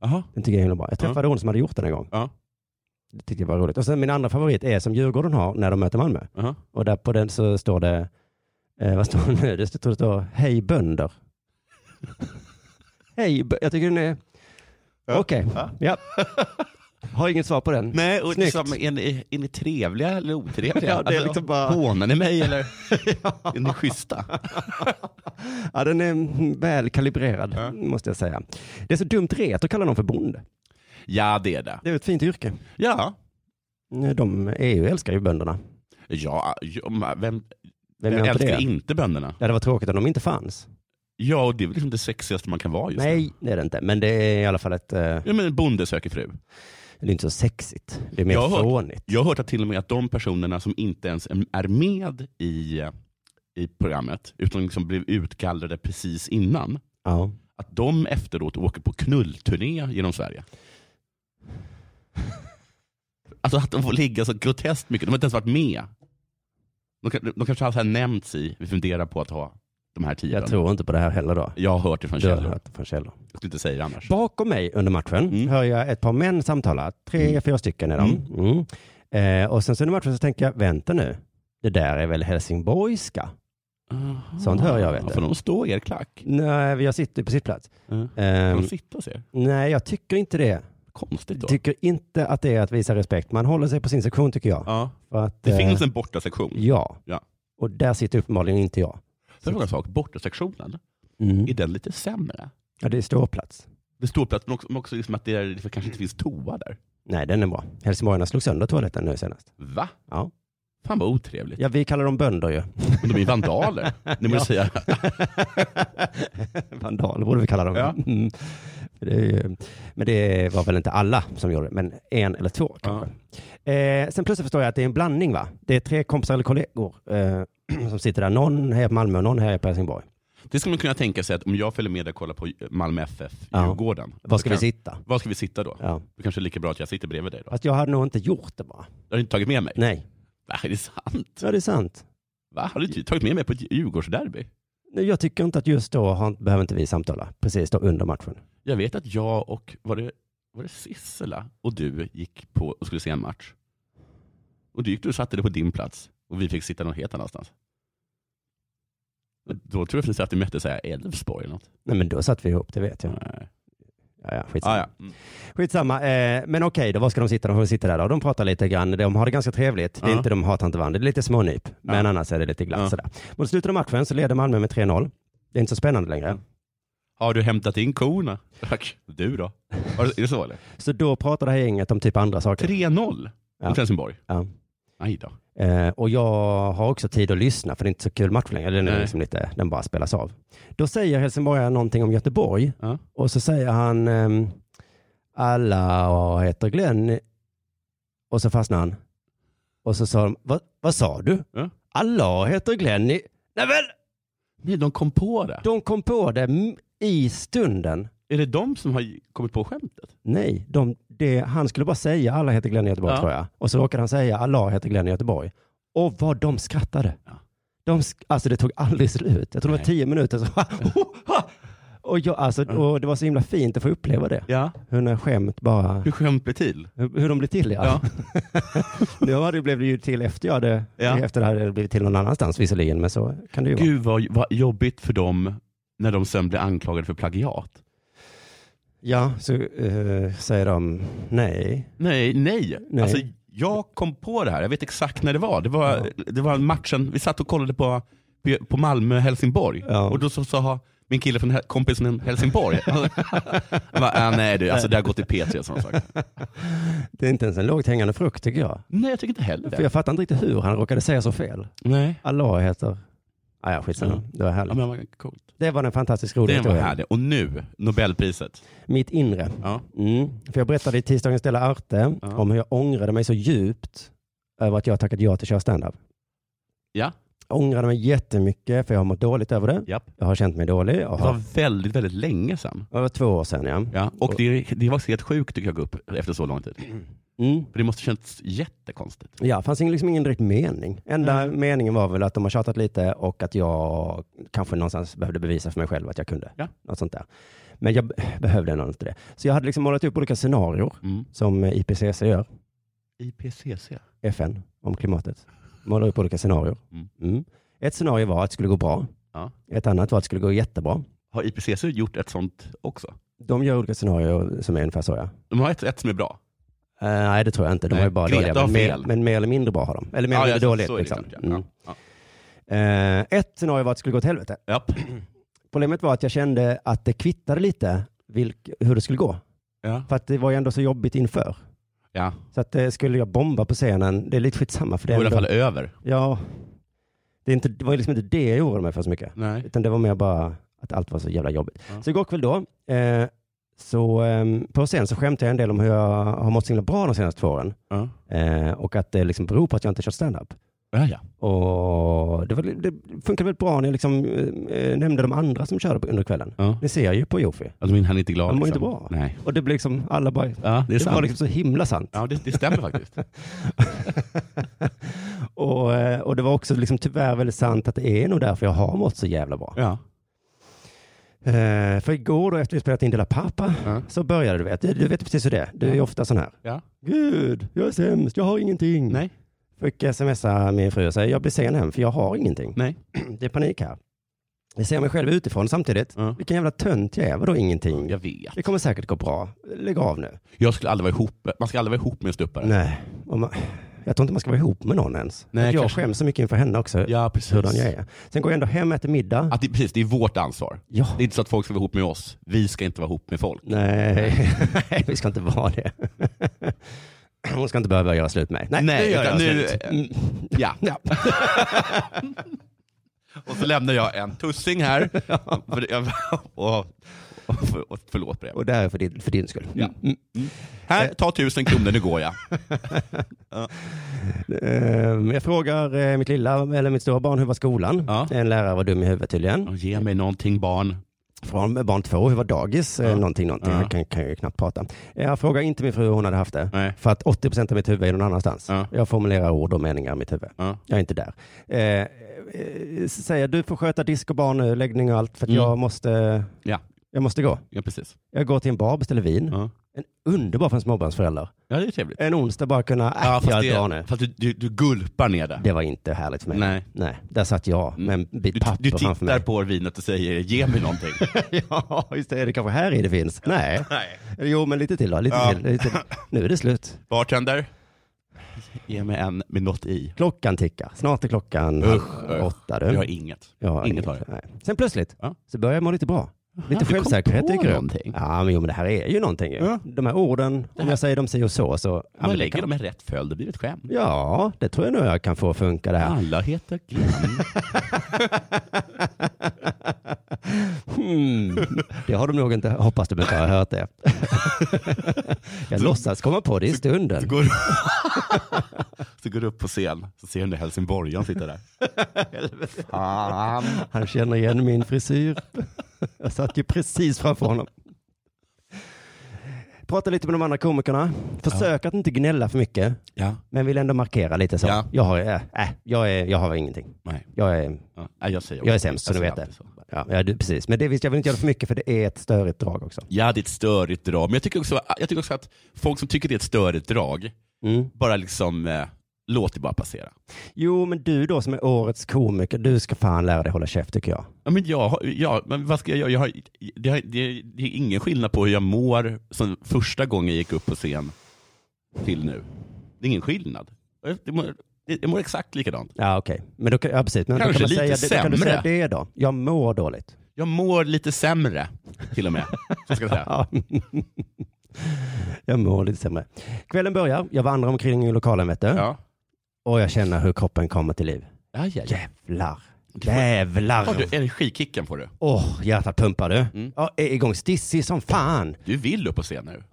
C: Jaha.
D: Den tycker jag är himla bra. Jag träffade hon som hade gjort den en gång.
C: Ja.
D: Det tyckte jag var roligt. Och sen min andra favorit är som Djurgården har när de möter Malmö.
C: Jaha.
D: Och där på den så står det, eh, vad står det nu? Det står, det står hej bönder. hej bö- Jag tycker den är, okej. Ja. Har inget svar på den.
C: Nej, och
D: Snyggt.
C: liksom, är, ni, är ni trevliga eller otrevliga? Alltså,
D: Ja, det är liksom bara-
C: Hånar ni mig eller är ni schyssta?
D: Ja, den är väl kalibrerad, måste jag säga. Det är så dumt ret att kalla dem för bonde.
C: Ja, det är det.
D: Det är ett fint yrke.
C: Ja.
D: De EU älskar ju bönderna.
C: Ja, ja men vem,
D: Vem
C: vem
D: gör inte
C: älskar
D: det?
C: inte bönderna?
D: Ja, det var tråkigt om de inte fanns.
C: Ja, och det är väl liksom det sexigaste man kan vara just nu.
D: Nej, det är det inte. Men det är i alla fall ett... eh,
C: Ja, men bonde söker fru.
D: Det är inte så sexigt. Det är mer
C: Jag har hört-
D: fånigt.
C: Jag har hört att till och med att de personerna som inte ens är med i, eh, i programmet, utan liksom blev utgallrade precis innan,
D: Ja.
C: att de efteråt åker på knullturné genom Sverige. Alltså att de får ligga så groteskt mycket. De har inte ens varit med. De, kan- de kanske har så här nämnts i, vi funderar på att ha de här tio.
D: Jag tror inte på det här heller då.
C: Jag har hört det från
D: Du har
C: källor.
D: hört det från källor.
C: Jag skulle inte säga det annars.
D: Bakom mig under matchen
C: Mm.
D: hör jag ett par män samtala. Tre, fyra stycken är de. Mm. Eh, och sen så under matchen så tänker jag, vänta nu. Det där är väl helsingborgska? Sånt hör jag, vet
C: Ja,
D: du.
C: Får de stå i er klack?
D: Nej, jag sitter på sittplats.
C: Mm. Får
D: Ehm,
C: de sitta och se?
D: nej, jag tycker inte det.
C: Konstigt Typ då.
D: Tycker inte att det är att visa respekt. Man håller sig på sin sektion tycker jag.
C: Ja.
D: För att,
C: Det
D: eh,
C: finns en bortasektion.
D: Ja.
C: Ja.
D: Och där sitter uppenbarligen inte jag. Mm.
C: Sen har jag en sak, bortasektionen, är den lite sämre?
D: Ja, det är ståplats.
C: Det står plats, men också, men också liksom att det, är, det kanske inte finns toa där.
D: Nej, den är bra. Helsingborgarna slog sönder toaletten nu senast.
C: Va?
D: Ja.
C: Fan vad otrevligt.
D: Ja, vi kallar dem bönder ju.
C: Men de är ju vandaler. Nu måste säga.
D: Vandaler borde vi kalla dem.
C: Ja.
D: Mm. Det är ju, men det var väl inte alla som gjorde det, men en eller två kanske. Eh, sen plötsligt förstår jag att det är en blandning va? Det är tre kompisar eller kollegor eh, som sitter där. Någon här på Malmö och någon här på Helsingborg.
C: Det skulle man kunna tänka sig att om jag följer med och kollar på Malmö FF,
D: Ja.
C: Djurgården.
D: Var ska
C: då
D: vi
C: kan-
D: sitta?
C: Var ska vi sitta då?
D: Ja.
C: Det kanske är lika bra att jag sitter bredvid dig då.
D: Fast jag hade nog inte gjort det bara.
C: Har du inte tagit med mig?
D: Nej,
C: Va, är det sant?
D: ja, det är sant.
C: Va? Har du inte tagit med mig på ett Djurgårdsderby?
D: Nej, Jag tycker inte att just då har, behöver inte vi samtala precis då under matchen.
C: Jag vet att jag och, var det, var det Sissela och du gick på och skulle se en match. Och du gick du och satte dig på din plats och vi fick sitta någon helt annanstans. Då tror jag precis att du mötte så här Elfsborg eller något.
D: Nej, men då satt vi ihop, det vet jag.
C: Nej.
D: Ja, ja, skitsamma.
C: Ah, ja. Mm.
D: Skitsamma. Eh, men okej, då var ska de sitta? De får sitta där då. De pratar lite grann. De har det ganska trevligt. Det är
C: Ja.
D: inte de hatar inte varandra. Det är lite smånyp. Men
C: Ja.
D: annars är det lite glatt
C: Ja.
D: sådär. Mot slutet av matchen så leder Malmö med 3-0. Det är inte så spännande längre.
C: Har du hämtat in korna? Tack. Du då? Har du, är det så eller?
D: Så då pratar det här gänget om typ andra saker.
C: 3-0
D: Ja.
C: mot Helsingborg.
D: Ja.
C: Aj då.
D: Eh, och jag har också tid att lyssna för det är inte så kul match längre. Den, är
C: Nej.
D: liksom lite, den bara spelas av. Då säger helsingborgaren någonting om Göteborg
C: Ja.
D: och så säger han ehm, alla heter Glenn och så fastnar han. Och så sa de, "Vad- vad sa du?
C: Ja.
D: Alla heter Glenn i... Nej men,
C: Nej, de kom på det.
D: de kom på det m- i stunden.
C: Är det de som har kommit på skämtet?
D: Nej, de, det, han skulle bara säga alla heter Glenn i Göteborg
C: Ja.
D: tror jag. Och så råkade han säga alla heter Glenn i Göteborg. Och vad de skrattade.
C: Ja.
D: De, sk- alltså det tog aldrig slut. Jag tror det var
C: Nej. Mm.
D: tio minuter. Så, Oh, och, jag, alltså, och det var så himla fint att få uppleva det.
C: Ja.
D: Hur när skämt bara,
C: Hur skämt blir till?
D: hur, hur de blir till ja. nu har det blivit ju till efter jag hade,
C: Ja.
D: efter det här hade det blivit till någon annanstans visserligen, men så kan det ju vara.
C: Gud vad, vad jobbigt för dem när de sen blir anklagade för plagiat.
D: Ja, så eh, säger de nej.
C: Nej, nej.
D: Nej.
C: Alltså, jag kom på det här, jag vet exakt när det var. Det var, det var matchen, vi satt och kollade på, på Malmö-Helsingborg
D: Ja.
C: och då så sa min kille från Hel- kompisen från Helsingborg, han bara, äh, nej du, alltså, det har gått till P3 som sagt.
D: Det är inte ens en lågt hängande frukt tycker jag.
C: Nej, jag tycker inte heller
D: För
C: det.
D: jag fattar inte riktigt hur han råkade säga så fel.
C: Nej.
D: Allah heter... Ah, ja, skitsamma.
C: Ja.
D: Det var härligt.
C: Mm. Ja, men vad coolt.
D: Det var en fantastiskt rolig
C: Den var
D: historia.
C: härlig. Och nu, Nobelpriset.
D: Mitt inre.
C: Ja.
D: Mm. För jag berättade i tisdagens Dela Arte
C: Ja.
D: om hur jag ångrade mig så djupt över att jag tackat ja till att köra standup.
C: Ja.
D: Jag ångrade mig jättemycket för jag har mått dåligt över det.
C: Japp.
D: Jag har känt mig dålig. Jag
C: Det var
D: har...
C: väldigt, väldigt länge sedan.
D: Det var två år sedan ja.
C: Ja. Och det, det var helt sjukt tycker jag, att gå upp efter så lång tid.
D: Mm.
C: För det måste känts jättekonstigt.
D: Ja, det fanns ingen- liksom ingen direkt mening. Enda meningen var väl att de har tjatat lite och att jag kanske någonstans behövde bevisa för mig själv att jag kunde.
C: Ja.
D: Något sånt där. Men jag be- behövde ändå inte det. Så jag hade liksom målat upp olika scenarier
C: Mm.
D: som eh, IPCC gör,
C: IPCC.
D: FN, om klimatet. Målar upp olika scenarier.
C: Mm.
D: Mm. Ett scenario var att det skulle gå bra.
C: Ja.
D: Ett annat var att det skulle gå jättebra.
C: Har IPCC gjort ett sånt också?
D: De gör olika scenarier som är ungefär så ja.
C: De har ett, ett som är bra.
D: Eh, nej, det tror jag inte. De
C: Nej,
D: har ju bara
C: Greta
D: dåliga.
C: har
D: Men mer,
C: fel.
D: men mer eller mindre bra har de. Eller mer eller
C: ja,
D: mindre
C: så-
D: dåligt.
C: så är det
D: Liksom.
C: klart, ja.
D: Mm.
C: Ja.
D: Eh, ett scenario var att det skulle gå åt helvete.
C: Ja. Japp.
D: Problemet var att jag kände att det kvittade lite vilk, hur det skulle gå.
C: Ja.
D: För att det var ju ändå så jobbigt inför.
C: Ja.
D: Så att eh, skulle jag bomba på scenen, det är lite skitsamma för
C: Det
D: det.
C: var i
D: är
C: alla fall
D: Ändå,
C: över.
D: ja, det, är inte, det var ju liksom inte det jag oroade mig för så mycket.
C: Nej.
D: Utan det var mer bara att allt var så jävla jobbigt.
C: Ja.
D: Så igår kväll då, eh, så eh, på scen så skämtade jag en del om hur jag har mått så himla bra de senaste två åren.
C: Ja.
D: Eh, och att det liksom beror på att jag inte kört standup.
C: Ja, ja.
D: Och det, var, det funkade väldigt bra när jag liksom, eh, nämnde de andra som körde på- under kvällen.
C: ja.
D: Det ser jag ju på Jofi.
C: Alltså, min, han är inte glad.
D: Han mår
C: liksom.
D: inte bra.
C: Nej.
D: Och det blev liksom, alla bara, det,
C: Ja, det är sant.
D: var liksom så himla sant.
C: Ja, det, det stämmer faktiskt.
D: och, eh, och det var också liksom tyvärr väldigt sant att det är nog därför jag har mått så jävla bra.
C: Ja.
D: Eh, för igår då efter vi spelat in Dela Pappa
C: Ja.
D: så började du vet, du, du vet precis hur det är. Du är ju ofta sån här.
C: Ja.
D: Gud, jag är sämst, jag har ingenting.
C: Nej.
D: Fick smsa min fru och säga, jag blir sen hem för jag har ingenting.
C: Nej.
D: Det är panik här. Jag ser mig själv utifrån samtidigt.
C: Ja.
D: Vilken jävla tönt jag är, vadå ingenting?
C: Jag vet.
D: Det kommer säkert gå bra. Lägg av nu.
C: Jag skulle aldrig vara ihop. Man ska aldrig vara ihop med en stuppare.
D: Nej, och man, jag tror inte man ska vara ihop med någon ens.
C: Nej,
D: För jag
C: kanske.
D: skäms så mycket inför henne också,
C: Ja, precis.
D: hurdan jag är. Sen går jag ändå hem, äter middag.
C: Att det, precis, det är vårt ansvar.
D: Ja.
C: Det är inte så att folk ska vara ihop med oss. Vi ska inte vara ihop med folk.
D: Nej, Nej, vi ska inte vara det. Hon ska inte behöva göra slut med mig. Nej,
C: Nej,
D: nu gör jag
C: utan nu-
D: slut. Mm.
C: Ja.
D: Ja.
C: Och så lämnar jag en tussing här. För, jag- och, och, för- och, förlåt Brev.
D: Och det här är för din, för din skull.
C: Ja. Här, ta tusen kronor, nu går jag.
D: Ehm, Jag frågar eh, mitt lilla, eller mitt stora barn, hur var skolan?
C: Ja.
D: En lärare var dum i huvudet tydligen.
C: Och Ge mig någonting barn.
D: Från barn två, hur var dagis? Ja. Någonting, någonting.
C: Ja.
D: Jag kan, kan ju knappt prata. Eh, Jag frågar inte min fru hur hon hade haft det.
C: Nej.
D: För att 80 procent av mitt huvud är någon annanstans.
C: Ja.
D: Jag formulerar ord och meningar i mitt huvud.
C: Ja.
D: Jag är inte där. Eh, eh, säger du får sköta disk och barn nu, läggning och allt för att
C: Mm.
D: jag, måste,
C: Ja.
D: jag måste gå.
C: Ja, precis.
D: Jag går till en bar, beställer vin.
C: Ja,
D: En underbar för en småbarnsförälder.
C: ja det är trevligt.
D: En onsdag bara kunna, äh,
C: Ja,
D: jag
C: fast,
D: drar nu.
C: det, fast du, du, du gulpar ner det.
D: Det var inte härligt för mig.
C: Nej. Mm.
D: där satt jag med en
C: Du,
D: bit papper
C: du
D: framför mig.
C: tittar på vinet och säger ge mig någonting.
D: ja, just det. Är det kanske här i det finns? Nej.
C: Nej.
D: Jo, men lite till då. Lite
C: Ja.
D: till, lite till. Nu är det slut.
C: Bartender, ge mig en med något i.
D: Klockan tickar. Snart är klockan
C: Usch,
D: halv åtta. Du.
C: Jag har inget.
D: Jag har
C: inget har jag.
D: Nej. Sen plötsligt
C: Ja.
D: så börjar jag må lite bra. Lite
C: du kom
D: självsäkerhet
C: på
D: dyker upp.
C: någonting.
D: Ja, men jo, men det här är ju någonting. ju.
C: Ja.
D: De här orden, om jag säger dem si och så, så... ja, men
C: Man
D: det
C: lägger
D: kan-
C: dem i rätt följd, det blir ett skämt.
D: Ja, det tror jag nog jag kan få funka det här.
C: Alla heter Glenn.
D: Hmm. Det har de nog inte, hoppas de inte har hört det. Jag låtsas komma på det i
C: Så
D: stunden.
C: går, så går du upp på scen, så ser du den där helsingborgaren sitta där. Fan.
D: Han känner igen min frisyr. Jag satt ju precis framför honom. Prata lite med de andra komikerna. Försök att inte gnälla för mycket,
C: Ja.
D: men vill ändå markera lite så.
C: Ja.
D: Jag, har, äh, äh, jag, är, jag har ingenting.
C: Nej.
D: Jag är,
C: Ja. Nej, Jag säger
D: jag är
C: också-
D: sämst, så ni
C: säger
D: vet det.
C: alltid alltså, så.
D: Ja, ja, du, precis. Men det, visst, jag vill inte göra för mycket, för det är ett störigt drag också.
C: Ja, det är ett störigt drag. Men jag tycker också, jag tycker också att folk som tycker det är ett störigt drag,
D: Mm.
C: bara liksom, eh, låt det bara passera.
D: Jo, men du då som är årets komiker, du ska fan lära dig hålla käft tycker jag.
C: Ja, men jag, har- ja, men vad ska jag göra? Jag har, det, har, det, det är ingen skillnad på hur jag mår sen första gången jag gick upp på scen till nu. Det är ingen skillnad. Jag mår, jag mår exakt likadant.
D: Ja, okej. Men då kan, ja, precis. Men då
C: Kanske
D: kan man
C: lite
D: säga, det- Då kan du säga
C: sämre.
D: det då? Jag mår dåligt.
C: Jag mår lite sämre till och med. Så ska jag säga.
D: Ja. jag mår lite sämre. Kvällen börjar, jag vandrar omkring i lokalen vet du.
C: Ja.
D: Och jag känner hur kroppen kommer till liv.
C: Ja, ja, ja.
D: Jävlar.
C: Du får-
D: Jävlar.
C: Har
D: Åh,
C: du energikicken på du?
D: hjärtat pumpar du.
C: Mm.
D: Jag är igång stissig som fan.
C: Du vill upp på scen nu.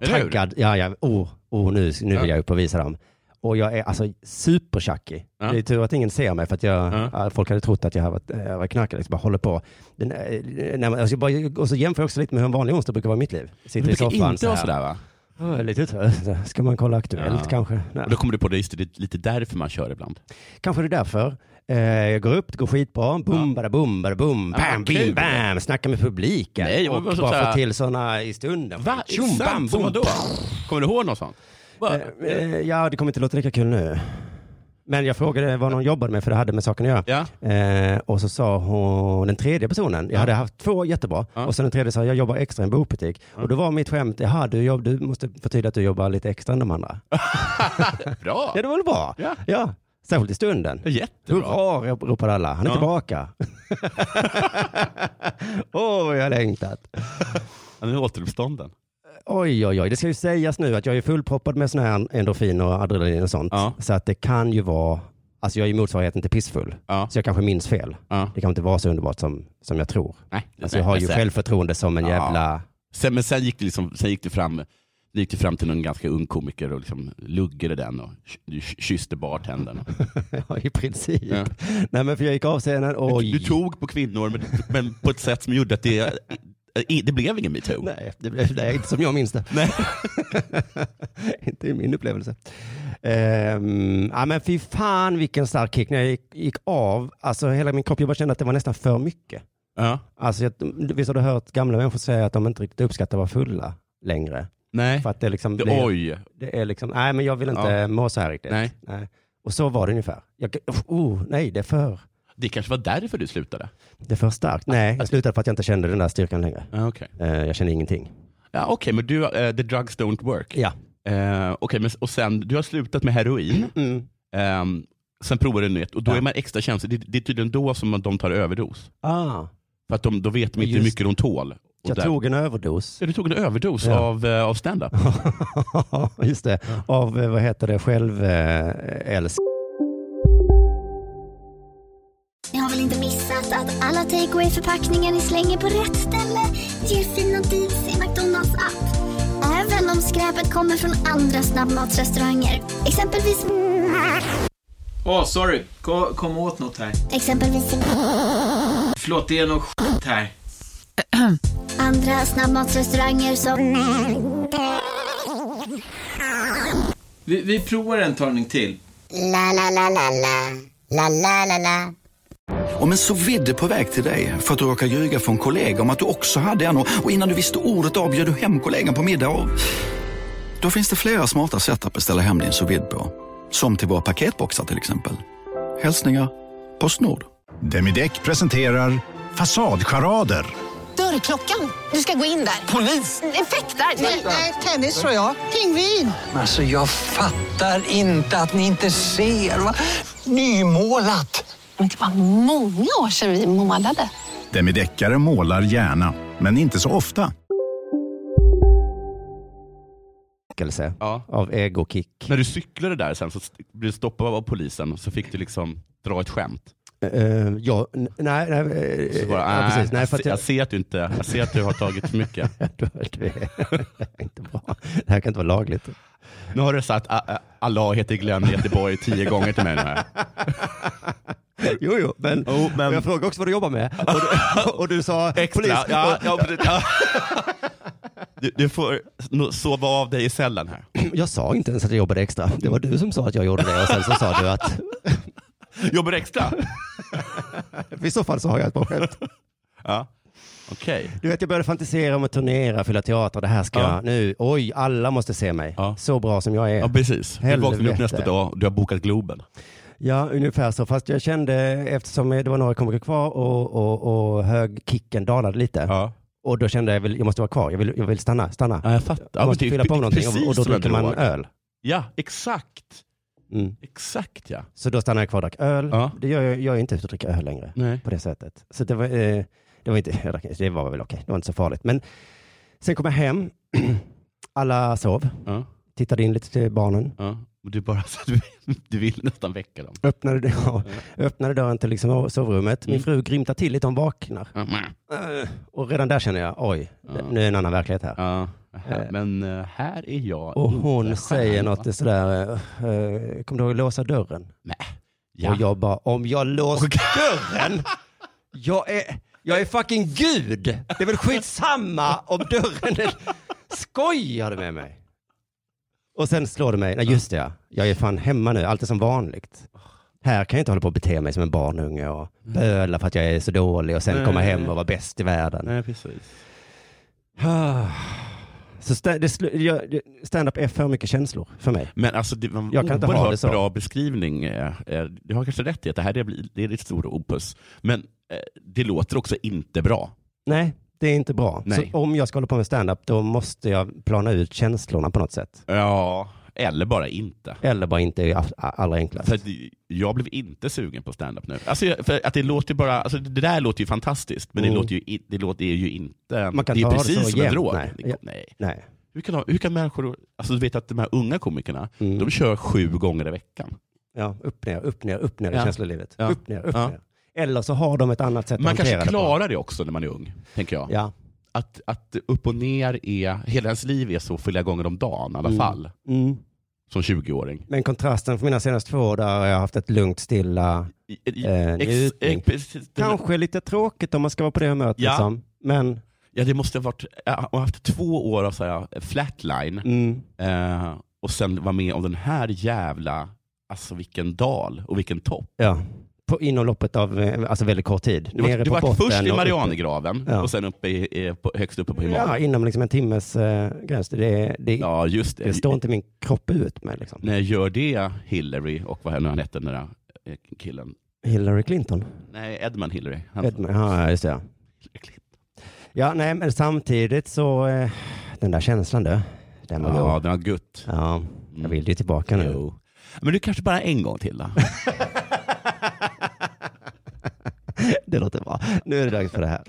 C: Eller hur?
D: Taggad. Ja, ja. Oh, oh, nu, nu vill
C: Ja.
D: jag upp och visa dem. Och jag är alltså supertjackig.
C: Ja.
D: Det är tur att ingen ser mig för att jag,
C: Ja.
D: ja, folk hade trott att jag var, jag var knarkare. Liksom bara håller på. Den, eh, när man, jag ska bara, och så jämför jag också lite med hur en vanlig onsdag brukar vara i mitt liv. Sitter i
C: Du brukar
D: soffan
C: inte vara sådär va?
D: Ja, Lite trött. Ska man kolla Aktuellt
C: Ja.
D: kanske? Nej.
C: Och då kommer du på det, just det, det är lite därför man kör ibland.
D: Kanske det är därför. Eh, jag går upp, det går skitbra. Boom, bada, boom, bada, boom.
C: Ja,
D: Bam,
C: kul.
D: bim, bam. Snackar med publiken.
C: Nej,
D: och
C: men
D: bara
C: så så här-
D: få till sådana i stunden. Tjum,
C: Som
D: bam, boom.
C: vadå? Kommer du ihåg något sånt? Bara,
D: Eh, eh, ja, det kommer inte låta lika kul nu. Men jag frågade vad någon jobbade med, för det hade med saken att göra.
C: ja.
D: Eh, och så sa hon, den tredje personen, jag hade haft två jättebra,
C: Ja.
D: och sen den tredje sa jag jobbar extra i en bokbutik. Och då var mitt skämt, jaha du, jobb, du måste förtydliga att du jobbar lite extra än de andra.
C: Bra!
D: Ja, det var väl bra?
C: Ja.
D: ja. Särskilt i stunden.
C: Jättebra.
D: Hurra, rop- ropade alla. Han är
C: Ja.
D: tillbaka. Åh, vad jag har längtat.
C: Ja, nu är återuppstånden.
D: Oj, oj, oj. Det ska ju sägas nu att jag är fullproppad med sådana här endorfiner och adrenalin och sånt.
C: Ja.
D: Så att det kan ju vara, alltså jag är ju motsvarigheten till pissfull.
C: Ja.
D: Så jag kanske minns fel.
C: Ja.
D: Det kan inte vara så underbart som, som jag tror.
C: Nej,
D: Alltså jag har
C: nej,
D: ju
C: sen-
D: självförtroende som en
C: Ja.
D: jävla...
C: Sen, men sen gick det, liksom, sen gick det fram det gick det fram till någon ganska ung komiker och liksom luggade den och k- kysste bartendern.
D: Ja, i princip.
C: Ja.
D: Nej, men för jag gick av scenen och...
C: Du tog på kvinnor men, men på ett sätt som gjorde att det, det blev ingen metoo.
D: Nej, det blev, nej, inte som jag minns det.
C: Nej.
D: inte i min upplevelse. Ehm, ja, men fy fan vilken stark kick. När jag gick, gick av, alltså hela min kropp, jag bara kände att det var nästan för mycket.
C: Ja.
D: Alltså, jag, visst har du hört gamla människor säga att de inte riktigt uppskattar att vara fulla längre?
C: Nej.
D: För att det liksom
C: Det,
D: blir,
C: oj.
D: det är liksom, nej men jag vill inte
C: Ja.
D: må så här riktigt.
C: Nej.
D: Och så var det ungefär. Jag, oh, nej, det är för,
C: Det kanske var därför du slutade?
D: det är för
C: Ah.
D: starkt. Nej, jag slutade för att jag inte kände den där styrkan längre.
C: Ja, okej.
D: Eh, jag kände ingenting.
C: Ja, okej, men du, eh, the drugs don't work.
D: Ja.
C: Eh, okej, men, och sen, du har slutat med heroin.
D: Mm.
C: Ehm, sen provar du nytt och då
D: Ja.
C: är man extra känslig. Det, det är tydligen då som man- de tar överdos.
D: Ah,
C: För att de, då vet de inte hur
D: Just
C: mycket de tål. Och
D: jag
C: där-
D: tog en överdos.
C: Ja, du tog en överdos
D: Ja.
C: av, eh, av stand-up.
D: Just det,
C: Ah.
D: av eh, vad heter det, själv eh, älsk.
G: Ni har väl inte missat att alla takeaway förpackningar ni slänger på rätt ställe ger fina deals i McDonalds app. Även om skräpet kommer från andra snabbmatsrestauranger. Exempelvis...
H: Åh, sorry. Kom, kom åt något här.
G: Exempelvis...
H: Förlåt, det är något skit här.
G: Andra snabbmatsrestauranger som...
H: Vi, vi provar en talning till.
I: Om en så vidde på väg till dig för att du råkar ljuga från kollega om att du också hade en och och innan du visste ordet av bjöd du hem kollegan på middag och... Då finns det flera smarta sätt att beställa hem din sous vide på. Som till våra paketboxar till exempel. Hälsningar Postnord.
J: Demideck presenterar Fasadcharader.
G: Dörrklockan. Du ska gå in där. Polis? Effektar? Nej, tennis tror jag. Pingvin.
K: Alltså jag fattar inte att ni inte ser. Va? Nymålat!
F: Men det var många år sedan vi målade.
J: Demideckare målar gärna, men inte så ofta.
C: Ja.
D: Av egokick.
C: När du cyklade där sen så st- blev du stoppad av polisen och så fick du liksom dra ett skämt.
D: Eh, ja, n- nej, nej. eh,
C: Så bara, "Äh,
D: ja, precis. Nej,
C: jag,
D: för
C: se-
D: att
C: jag...
D: jag,
C: ser att du inte, jag ser att du har tagit för mycket.
D: Du hör det. Det är inte bra. Det här kan inte vara lagligt.
C: Nu har du sagt "Ah, ah, Allah heter Glenn i Göteborg tio gånger till mig nu här.
D: Jo, jo, men,
C: Jo, men-
D: och jag frågade också vad du jobbar med. Och du, och du sa
C: Extra.
D: polis.
C: Ja, ja, precis. ja. Du, du får no- sova av dig i cellen här.
D: Jag sa inte ens att jag jobbade extra. Det var du som sa att jag gjorde det och sen så sa du att
C: Jobbar du extra?
D: i så fall så har jag ett bra skämt.
C: Ja, okej.
D: Du vet, jag började fantisera om att turnera, fylla teater. Det här ska
C: Ja.
D: jag nu. Oj, alla måste se mig. Så bra som jag är.
C: Ja, precis. Du vaknar upp
D: Eh, Helvete.
C: nästa dag och du har bokat Globen.
D: Ja, ungefär så. Fast jag kände, eftersom det var några komiker kvar och, och, och högkicken dalade lite. Och då kände jag, jag, vill, jag måste vara kvar. Jag vill, jag vill stanna. stanna.
C: Ja, jag fattar.
D: Jag måste
C: Ja, men det är
D: fylla på med någonting
C: precis
D: och, och då
C: som jag
D: dricker man
C: drog.
D: öl.
C: Ja, exakt.
D: Mm.
C: Exakt ja.
D: Så då stannade jag kvar och drack öl. Det gör jag, jag är inte ute och dricker öl längre
C: Mm.
D: på det sättet. Så det var, eh, det var, inte, jag drack- det var väl okej, det var inte så farligt. Men sen kom jag hem, alla sov, tittade in lite till barnen.
C: Ja. Och du, bara, du, du vill nästan väcka dem.
D: Öppnade, ja, öppnade dörren till liksom sovrummet. Min
C: Mm.
D: fru grymtar till lite, hon vaknar. Eh, Och redan där känner jag, oj, nu är det en annan verklighet här.
C: Här- Men eh, här är jag
D: Och
C: inte
D: hon
C: stjärna.
D: säger något i sådär, eh, eh, kommer du ihåg att låsa dörren?
C: Nej.
D: Ja. Och jag bara, om jag låser dörren, jag är, jag är fucking gud. Det är väl skitsamma om dörren är... Skojar du med mig? Och sen slår det mig, nej just det ja, jag är fan hemma nu, allt är som vanligt. Här kan jag inte hålla på och bete mig som en barnunge och böla för att jag är så dålig och sen
C: Nej.
D: komma hem och vara bäst i världen.
C: Nej, precis.
D: Så sta- det slu- jag- det- stand-up är för mycket känslor för mig.
C: Men alltså, det var en
D: Jag kan inte ha det
C: oerhört
D: så.
C: bra beskrivning. eh, eh, Du har kanske rätt i att det här är, det är ditt stora opus. Men eh, det låter också inte bra.
D: Nej, det är inte bra.
C: Nej.
D: Så om jag ska hålla på med stand-up då måste jag plana ut känslorna på något sätt.
C: Ja, eller bara inte.
D: Eller bara inte är all- allra enklast.
C: För att jag blev inte sugen på stand-up nu. Alltså, jag- för att det, låter bara, alltså, det där låter ju fantastiskt, men
D: Mm.
C: det, låter ju, i- det låter ju inte...
D: Man kan
C: det är
D: inte ha det
C: precis
D: så
C: som en
D: jämnt,
C: drog.
D: nej.
C: Det- Nej.
D: Nej.
C: Hur, kan, de- hur kan människor... Alltså, du vet att de här unga komikerna,
D: Mm.
C: de kör sju gånger i veckan.
D: Ja, upp ner, upp ner, upp ner i
C: Ja.
D: känslolivet.
C: Ja.
D: Upp ner, upp
C: Ja.
D: ner. Eller så har de ett annat sätt
C: Man
D: att hantera
C: kanske
D: det på.
C: klarar det också när man är ung, tänker jag.
D: Ja.
C: Att, att upp och ner är... Hela ens liv är så flera gånger om dagen i alla
D: Mm.
C: fall,
D: Mm.
C: som 20-åring.
D: Men kontrasten för mina senaste två år där har jag haft ett lugnt, stilla
C: I-
D: eh,
C: ex-
D: njutning.
C: ex- precis.
D: Kanske lite tråkigt om man ska vara på det humöret.
C: Ja.
D: Liksom. Men
C: Ja, det måste ha varit... Jag har haft två år av så här, eh, flatline.
D: Mm.
C: Eh, och sen vara med om den här jävla... Alltså vilken dal och vilken topp.
D: ja, på, inom loppet av eh, alltså väldigt kort tid.
C: Du var,
D: Nere
C: du
D: på
C: var
D: botten
C: först i
D: och uppe.
C: Marianegraven
D: Ja.
C: och sen uppe i, eh, på, högst uppe på
D: Ja,
C: Himalaya.
D: inom liksom en timmes eh, gräns. Det, det,
C: Ja, just det.
D: det står inte min kropp ut med. Liksom.
C: När jag gör det, Hillary och vad nu han hette den där eh, killen?
D: Hillary Clinton.
C: Nej, Edman Hillary. Han,
D: Edmund, ja, just det. Ja. ja, nej, men samtidigt så, eh, den där känslan du, den var
C: ja,
D: god.
C: den har gutt.
D: Ja, jag vill ju tillbaka nu.
C: Jo. Men du kanske bara en gång till då?
D: Det låter bra. Nu är det dags för det här.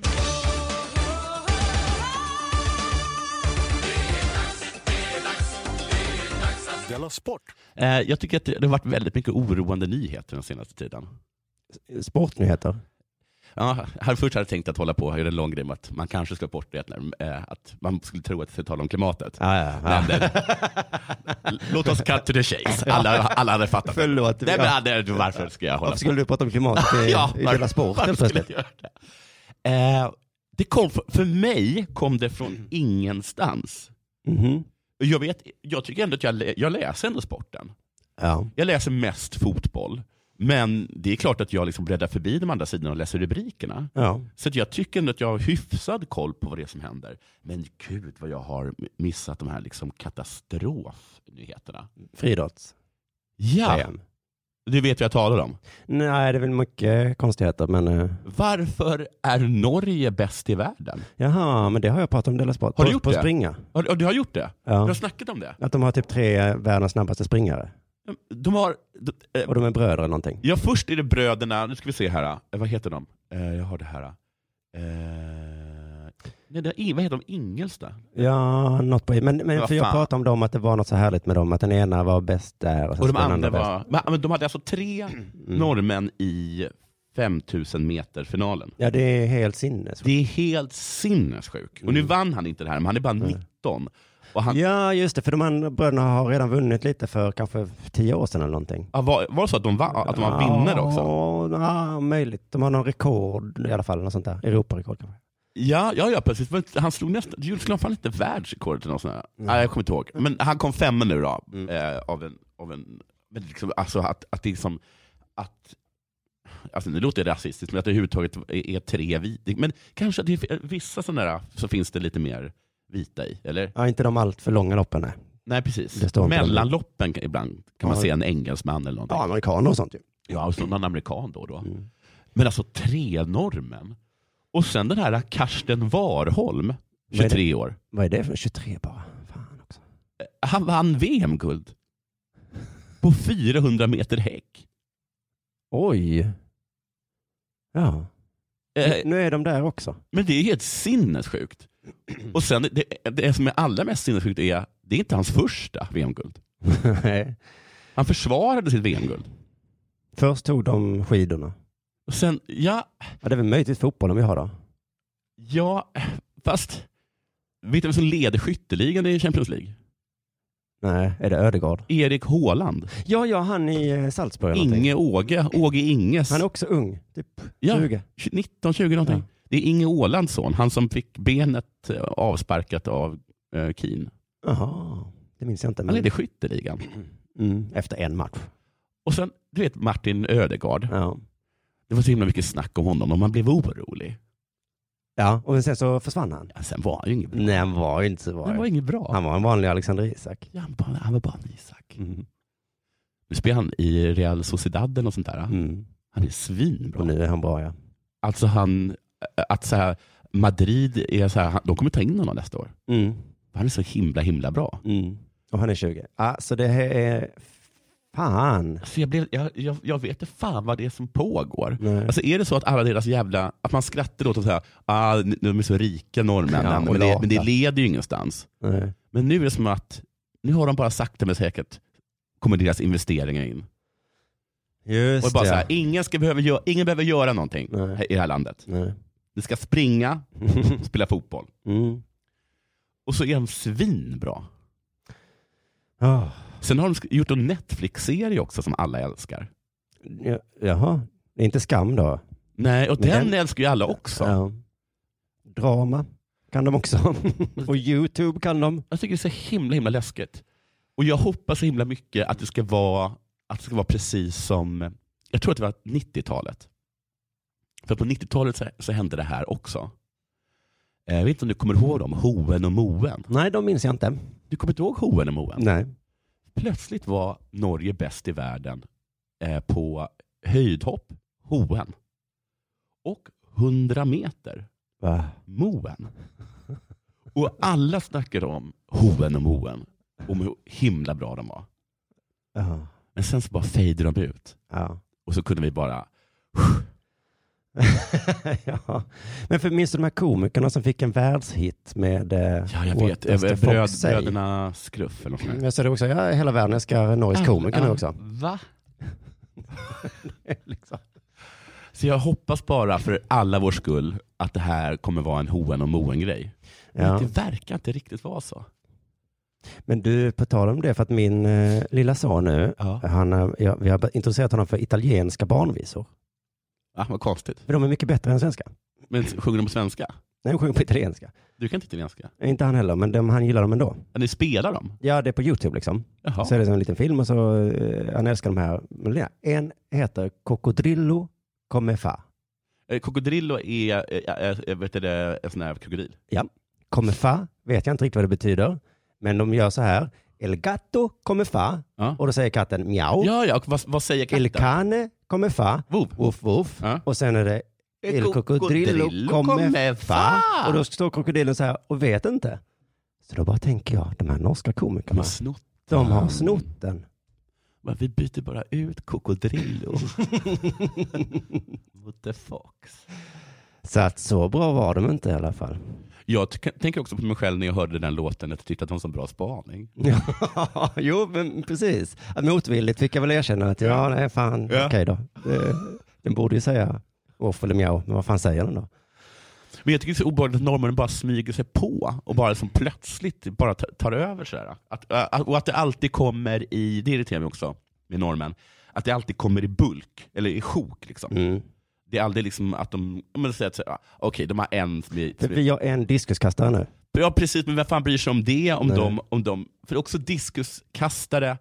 L: Della Sport.
C: Eh, jag tycker att det, det har varit väldigt mycket oroande nyheter den senaste tiden.
D: Sportnyheter.
C: Ja, här först hade jag tänkt att hålla på och göra en lång grej med att man kanske ska bort det, när, eh, att man skulle tro att det skulle tala om klimatet.
D: Ah.
C: Men, eh, låt oss cut to the chase. Alla, alla hade fattat.
D: Förlåt.
C: Nej, men, hade- varför ska jag hålla
D: Varför skulle du prata om klimatet i,
C: Ja,
D: i
C: var-
D: Della Sport?
C: varför
D: helt
C: skulle
D: plötsligt?
C: jag göra det? Eh, det kom, för mig kom det
D: Mm.
C: från ingenstans.
D: Mhm.
C: Och Jag, vet, jag tycker ändå att jag, lä- jag läser ändå sporten.
D: Ja.
C: Jag läser mest fotboll. Men det är klart att jag liksom bläddrar förbi de andra sidorna och läser rubrikerna.
D: Ja.
C: Så att jag tycker ändå att jag har hyfsad koll på vad det är som händer. Men gud vad jag har missat de här liksom katastrofnyheterna.
D: Friidrotts.
C: Ja.
D: VM.
C: Du vet vad jag talar om.
D: Nej, det är väl mycket konstigheter, men eh,
C: Varför är Norge bäst i världen?
D: jaha, men det har jag pratat om i Della Sport.
C: Har du
D: på,
C: gjort
D: på
C: det?
D: springa.
C: Har, du- du har gjort det?
D: Ja.
C: Du har snackat om det?
D: Att de har typ tre världens snabbaste springare.
C: De har... De, eh,
D: Och de är bröder eller någonting.
C: ja, först är det bröderna, nu ska vi se här, eh, vad heter de? Eh, jag har det här. Eh, nej, det, är- vad heter de? Ingelsta?
D: Ja, något på Men, men
C: Vad
D: för jag
C: fan.
D: pratade om dem att det var något så härligt med dem, att den ena var bäst där och, sen
C: Och de
D: så den
C: andra
D: bäst.
C: var... Men, men de hade alltså tre norrmän i 5000 meter-finalen.
D: Ja, det är helt sinnes.
C: Det är helt sinnessjuk. Och nu vann han inte det här, men han är bara 19. Och han,
D: Ja, just det, för de andra bröderna har redan vunnit lite för kanske tio år sedan eller någonting.
C: ja, var, var det så att de, vann, att de var vinnare också?
D: Ja, ja, möjligt. De har någon rekord i alla fall, något sånt där. Europarekord kanske.
C: Ja, ja, ja precis. Men han slog nästan, Jules slog fan inte världsrekordet eller något sånt där. Nej, jag kommer inte ihåg. Men han kom femma nu då.
D: Mm.
C: Eh, av en, av en, men liksom, alltså att, att det liksom, att, alltså nu låter det rasistiskt, men att det överhuvudtaget är, är tre vita. Men kanske att det är vissa sådana där, så finns det lite mer vita i, eller?
D: Ja, inte de allt för långa loppen. Nej.
C: Nej, precis.
D: Det står inte
C: Mellanloppen kan- ibland kan man
D: Ja.
C: se en engelsman eller någonting.
D: Ja, Mm. amerikaner och sånt ju.
C: Ja, och så någon amerikan då och då. Men alltså tre normen. Och sen den här Karsten Warholm,
D: är det?
C: 23 år.
D: Vad är det för 23 bara?
C: Han vann VM-guld. På 400 meter häck.
D: Oj. Ja. nu är de där också.
C: Eh, Men det är helt sinnessjukt. Och sen det, det som är allra mest sinnessjukt är, det är inte hans första VM-guld.
D: Nej.
C: Han försvarade sitt VM-guld.
D: Först tog de skidorna.
C: Och sen, ja,
D: Ja, det är väl möjligtvis fotbollen vi har då.
C: ja, fast vet du vem som leder skytteligan i Champions League?
D: Nej, är det Ödegård?
C: Erik Haaland.
D: Ja, ja, han i eh, Salzburg. eller någonting.
C: Inge Åge, Åge Inges.
D: Han är också ung, typ
C: Ja,
D: 20.
C: 19, 20 någonting. Det är Inge Ålands son, han som fick benet eh, avsparkat av eh, Keen.
D: Jaha, det minns jag inte.
C: Han
D: Men...
C: ledde skytteligan.
D: Mm, efter en match.
C: Och sen, du vet Martin Ödegard.
D: Ja.
C: Det var så himla mycket snack om honom och man blev orolig.
D: Ja, och sen så försvann han.
C: Ja, sen var han ju inget bra.
D: Nej, han var ju inte så bra.
C: Han var inget bra.
D: Han Mm. var en vanlig Alexander Isak.
C: Ja, han, bara, han var bara en Isak. Nu spelar han i Real Sociedad eller något sånt där.
D: Mm.
C: Han är svinbra.
D: Och nu är han bra, ja.
C: Alltså han, eh, att så här, Madrid, är så här, han- de kommer ta in honom nästa år.
D: Mm.
C: Han är så himla himla bra.
D: Mm. Och han är 20. Ja, så det här är... Fan.
C: Alltså jag, blev, jag, jag, jag vet inte fan vad det är som pågår.
D: Nej.
C: Alltså är det så att alla deras jävla, att man skrattar åt att säga, ah, de är så rika norrmännen,
D: Ja, de är
C: men, det, men det
D: lata.
C: leder ju ingenstans.
D: Nej.
C: Men nu är det som att, nu har de bara sakta men säkert, kommer deras investeringar in.
D: Just
C: och bara
D: ja.
C: så här, ingen, ska behöva göra, ingen behöver göra någonting här- i det här landet.
D: Nej.
C: Ni ska springa, spela fotboll.
D: Mm.
C: Och så är de svinbra.
D: Ah.
C: Sen har de sk- gjort en Netflix-serie också som alla älskar.
D: Ja, Jaha, det är inte skam då?
C: Nej, och
D: Men
C: den,
D: den-
C: älskar ju alla också.
D: Ja. Drama kan de också. och YouTube kan de.
C: Jag tycker det är så himla himla läskigt. Och jag hoppas så himla mycket att det ska vara, att det ska vara precis som, jag tror att det var 90-talet. För på 90-talet så, så hände det här också. Eh, Jag vet inte om du kommer ihåg dem, Hoen och Moen.
D: Nej, de minns jag inte.
C: Du kommer inte ihåg Hoen och Moen?
D: Nej.
C: Plötsligt var Norge bäst i världen eh, på höjdhopp, Hoen, och 100 meter,
D: Va?
C: Moen. Och alla snackade om Hoen och Moen, om hur himla bra de var.
D: Ja.
C: Men sen så bara fejde de ut.
D: Ja.
C: Och så kunde vi bara...
D: ja. Men för minns du de här komikerna som fick en världshit med...
C: Ja, jag vet. eh, Bröd, bröderna Skruff eller något sånt där.
D: Jag sa det också, ja, hela världen älskar Norges komiker nu också.
C: Va?
D: liksom.
C: Så jag hoppas bara för alla vår skull att det här kommer vara en hoen och moen grej. Men
D: Ja.
C: det verkar inte riktigt vara så.
D: Men du, på tal om det, för att min eh, lilla son nu,
C: Ja.
D: han, eh, jag, vi har introducerat honom för italienska barnvisor.
C: Ah, vad konstigt.
D: För de är mycket bättre än svenska.
C: Men sjunger de på svenska?
D: Nej, de sjunger på italienska.
C: Du kan inte italienska?
D: Inte han heller, men de, han gillar dem ändå.
C: Ja, Ni spelar dem?
D: Ja, det är på YouTube liksom.
C: Jaha.
D: Så är det som en liten film och så, eh, han älskar de här melodierna. En heter Cocodrillo Come Fa.
C: Eh, Krokodillo är, eh, eh, eh, vet du det, en sån här krokodil.
D: Ja. Come Fa vet jag inte riktigt vad det betyder, men de gör så här. El gatto come fa.
C: Ja.
D: Och då säger katten miau.
C: Ja, ja. Och vad, vad säger
D: El
C: katten?
D: cane come fa.
C: Vov.
D: Woof woof.
C: Ja.
D: Och sen är det
C: El
D: El
C: cocodrillo
D: cocodrillo
C: come
D: come fa.
C: fa.
D: Och då står krokodilen så här och vet inte. Så då bara tänker jag, de här norska
C: De
D: komikerna,
C: har snott.
D: de har snott den.
C: Men vi byter bara ut Krokodillo mot The Fox.
D: Så att så bra var de inte i alla fall.
C: Jag t- tänker också på mig själv när jag hörde den låten, att jag tyckte att det var en så bra spaning.
D: Ja, jo, men precis. Att Motvilligt fick jag väl erkänna att ja, nej, fan,
C: Ja.
D: okej då. Det, den borde ju säga off eller mjau, men vad fan säger den då?
C: Men jag tycker det är så obehagligt att norrmännen bara smyger sig på och bara liksom plötsligt bara ta- tar över sådär. Att, äh, att- och att det alltid kommer i, det irriterar mig också med norrmän, att det alltid kommer i bulk, eller i sjok liksom.
D: Mm.
C: Det är aldrig liksom att de, om man säger att, så här, ah, okej de har en som är...
D: För vi har en diskuskastare nu.
C: Ja precis, men vem fan bryr sig om det? Om
D: Nej.
C: de, om de, för också diskuskastare,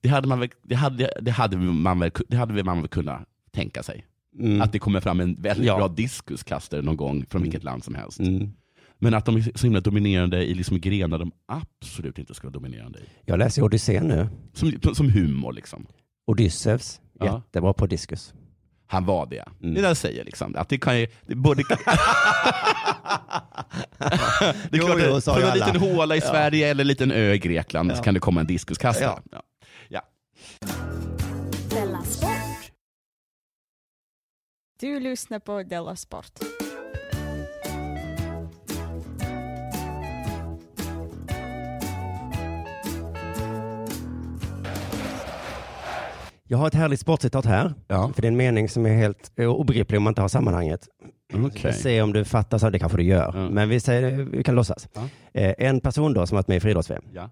C: det hade man väl, det hade, det hade man väl, det hade väl man väl kunnat tänka sig.
D: Mm.
C: Att det kommer fram en väldigt
D: Ja.
C: bra diskuskastare någon gång från vilket land som helst.
D: Mm.
C: Men att de är så himla dominerande i liksom grenar de absolut inte ska vara dominerande i.
D: Jag läser Odysseen nu.
C: Som, som humor liksom.
D: Odysseus,
C: Ja.
D: jättebra på diskus.
C: Han var det.
D: Mm.
C: Det där säger liksom. Att det kan ju, det borde... det är
D: Jo,
C: klart,
D: jo,
C: att
D: sa
C: från
D: ju
C: en
D: alla.
C: liten håla i
D: Ja.
C: Sverige eller en liten ö i Grekland så
D: Ja.
C: kan det komma en diskuskastare.
D: Ja.
C: Ja. Ja.
M: Della Sport. Du lyssnar på Della Sport.
D: Jag har ett härligt sportcitat här. För det är en mening som är helt eh, obegriplig om man inte har sammanhanget. Vi ska se om du fattar, så det kanske du gör. Men vi, säger, vi kan låtsas. Eh, en person då som varit med i friidrotts
C: Ja.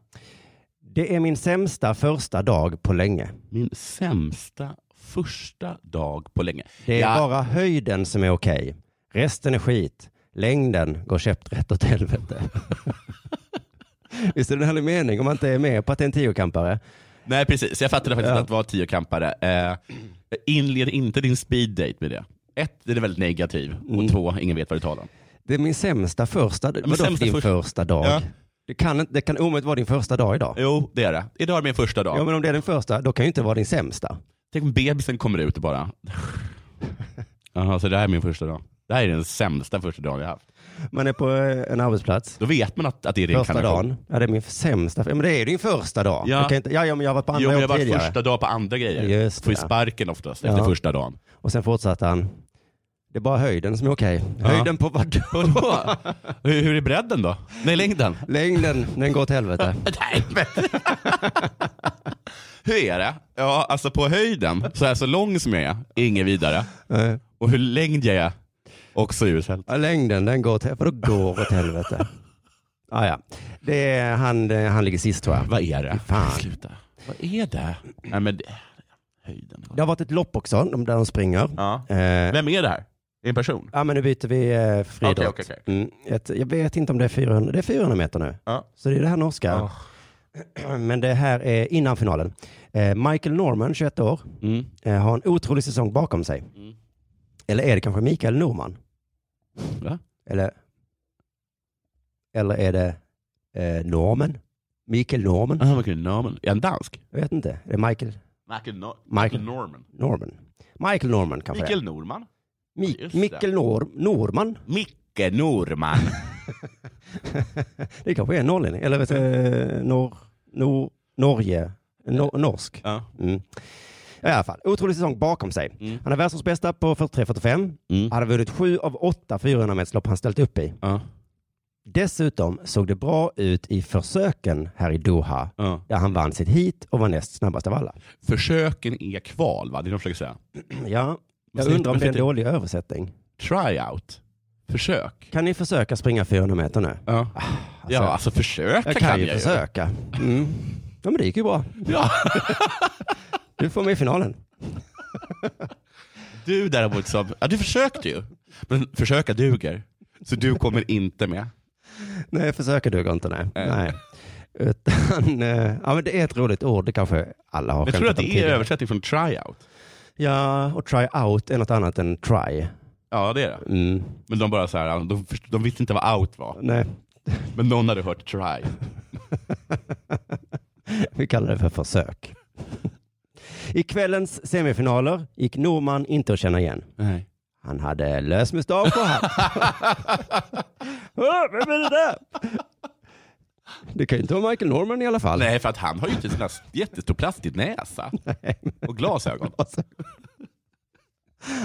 D: Det är min sämsta första dag på länge.
C: Min sämsta första dag på länge.
D: Det är
C: Ja.
D: bara höjden som är okej. Resten är skit. Längden går käpprätt åt helvete. Visst är det en härlig mening om man inte är med på att det är en tiokampare?
C: Nej precis, jag fattade faktiskt
D: Ja.
C: att det var tiokampare. Eh, inled inte din speed date med det. Ett, den är väldigt negativ.
D: Mm.
C: Och två, ingen vet vad du talar om.
D: Det är min sämsta första,
C: men
D: vadå
C: sämsta
D: din
C: först-
D: första dag?
C: Ja.
D: Det, kan, inte- det kan omöjligt vara din första dag idag.
C: Jo, det är det. Idag är min första dag.
D: Ja, men om det är den första, då kan ju inte vara din sämsta.
C: Tänk om bebisen kommer ut bara. Jaha, så det här är min första dag. Det här är den sämsta första dagen jag haft.
D: Man är på eh, en arbetsplats.
C: Då vet man att, att det är
D: Första
C: reinkarnation.
D: dagen. Ja, det är min sämsta. Ja, men det är din första dag.
C: Ja.
D: Du kan inte, ja, ja, men jag har varit på andra
C: Jo, men jag
D: jobb
C: har varit
D: tidigare.
C: första dag på andra grejer.
D: Just
C: Får ju
D: det.
C: sparken oftast
D: Ja.
C: efter första dagen.
D: Och sen fortsatte han. Det är bara höjden som är okej. Höjden på vadå?
C: Vadå? hur, hur är bredden då? Nej, längden?
D: Längden, den går åt helvete.
C: Nej, men... hur är det? Ja, alltså på höjden, så här så lång som jag är, ingen vidare.
D: Nej.
C: Och hur längd jag är, också uselt.
D: Ja, längden, den går åt helvete. Vadå går åt helvete? Ah, ja. det är, han, eh, han ligger sist tror jag.
C: Vad är det?
D: Fan.
C: Sluta. Vad är det? Nej, men det... Höjden.
D: Det har varit ett lopp också, de där de springer.
C: Ja.
D: Eh,
C: Vem är det här? Är det en person?
D: ja, men nu byter vi eh, friidrott.
C: Okej, okej, okej.
D: Mm, ett, jag vet inte om det är 400, det är 400 meter nu.
C: Ja.
D: Så det är det här norska. Men det här är innan finalen. Eh, Michael Norman, 21 år,
C: Mm.
D: eh, har en otrolig säsong bakom sig. Eller är det kanske Mikael Norman?
C: Va?
D: Eller, eller är det eh, Norman? Mikael Norman?
C: Aha, Michael Norman. Är han dansk?
D: Jag vet inte. Det är Michael
C: Michael, Nor-
D: Michael.
C: Norman.
D: Norman. Michael Norman kanske det är.
C: Mikael Norman.
D: Mik-
C: Just det.
D: Mikkel Nor- Norman.
C: Micke Norman.
D: Det kanske är en norrlänning, eller vet du, eh, nor- nor- Norge, Nor- norsk.
C: Ja. Mm.
D: Mm. I alla fall, otrolig säsong bakom sig. Han är världsens bästa på 43-45. Han har vunnit sju av åtta 400 meterslopp han ställt upp i. Dessutom såg det bra ut i försöken här i Doha,
C: Ja.
D: där han vann sitt hit och var näst snabbast av alla.
C: Försöken är kval, va? Det är det de försöker säga.
D: Ja, jag
C: Men-
D: undrar om det är en
C: men-
D: dålig översättning.
C: Tryout. Försök.
D: Kan ni försöka springa 400 meter nu?
C: Ja, ja alltså försöka
D: Jag kan, ju försöka. Mm. Ja, men det gick ju bra.
C: Ja.
D: Du får med i finalen.
C: Du däremot som, ja du försökte ju. Men försöka duger. Så du kommer inte med.
D: Nej, försöka duger inte. Nej. nej. Utan, eh, ja, men det är ett roligt ord. Det kanske alla har
C: Jag tror att
D: skämtat om
C: det är
D: tidigare.
C: översättning från tryout.
D: Ja, och try out är något annat än try.
C: Ja det är det.
D: Mm.
C: Men de bara så här, de, först- de visste inte vad out var.
D: Nej,
C: Men någon hade hört try.
D: vi kallar det för försök. I kvällens semifinaler gick Norman inte att känna igen.
C: Nej.
D: Han hade lös mustasch och hatt. Åh, Vem är det där? Det kan ju inte vara Michael Norman i alla fall.
C: Nej för att han har ju inte sån jättestor plastig näsa. Och glasögon.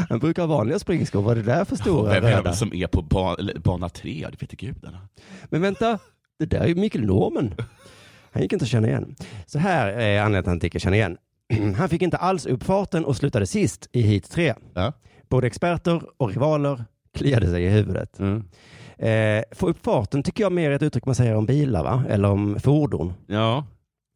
D: Han brukar ha vanliga springskor. Vad är det där för stora
C: Vem är
D: röda?
C: de som är på ba, eller bana tre? Det vet gudarna.
D: Men vänta, det där är ju Mikael Norman. Han gick inte att känna igen. Så här är anledningen till att han inte gick att känna igen. Han fick inte alls upp farten och slutade sist i heat 3. Både experter och rivaler kliade sig i huvudet.
C: Mm.
D: Eh, få upp farten tycker jag mer är ett uttryck man säger om bilar, va? eller om fordon.
C: Ja.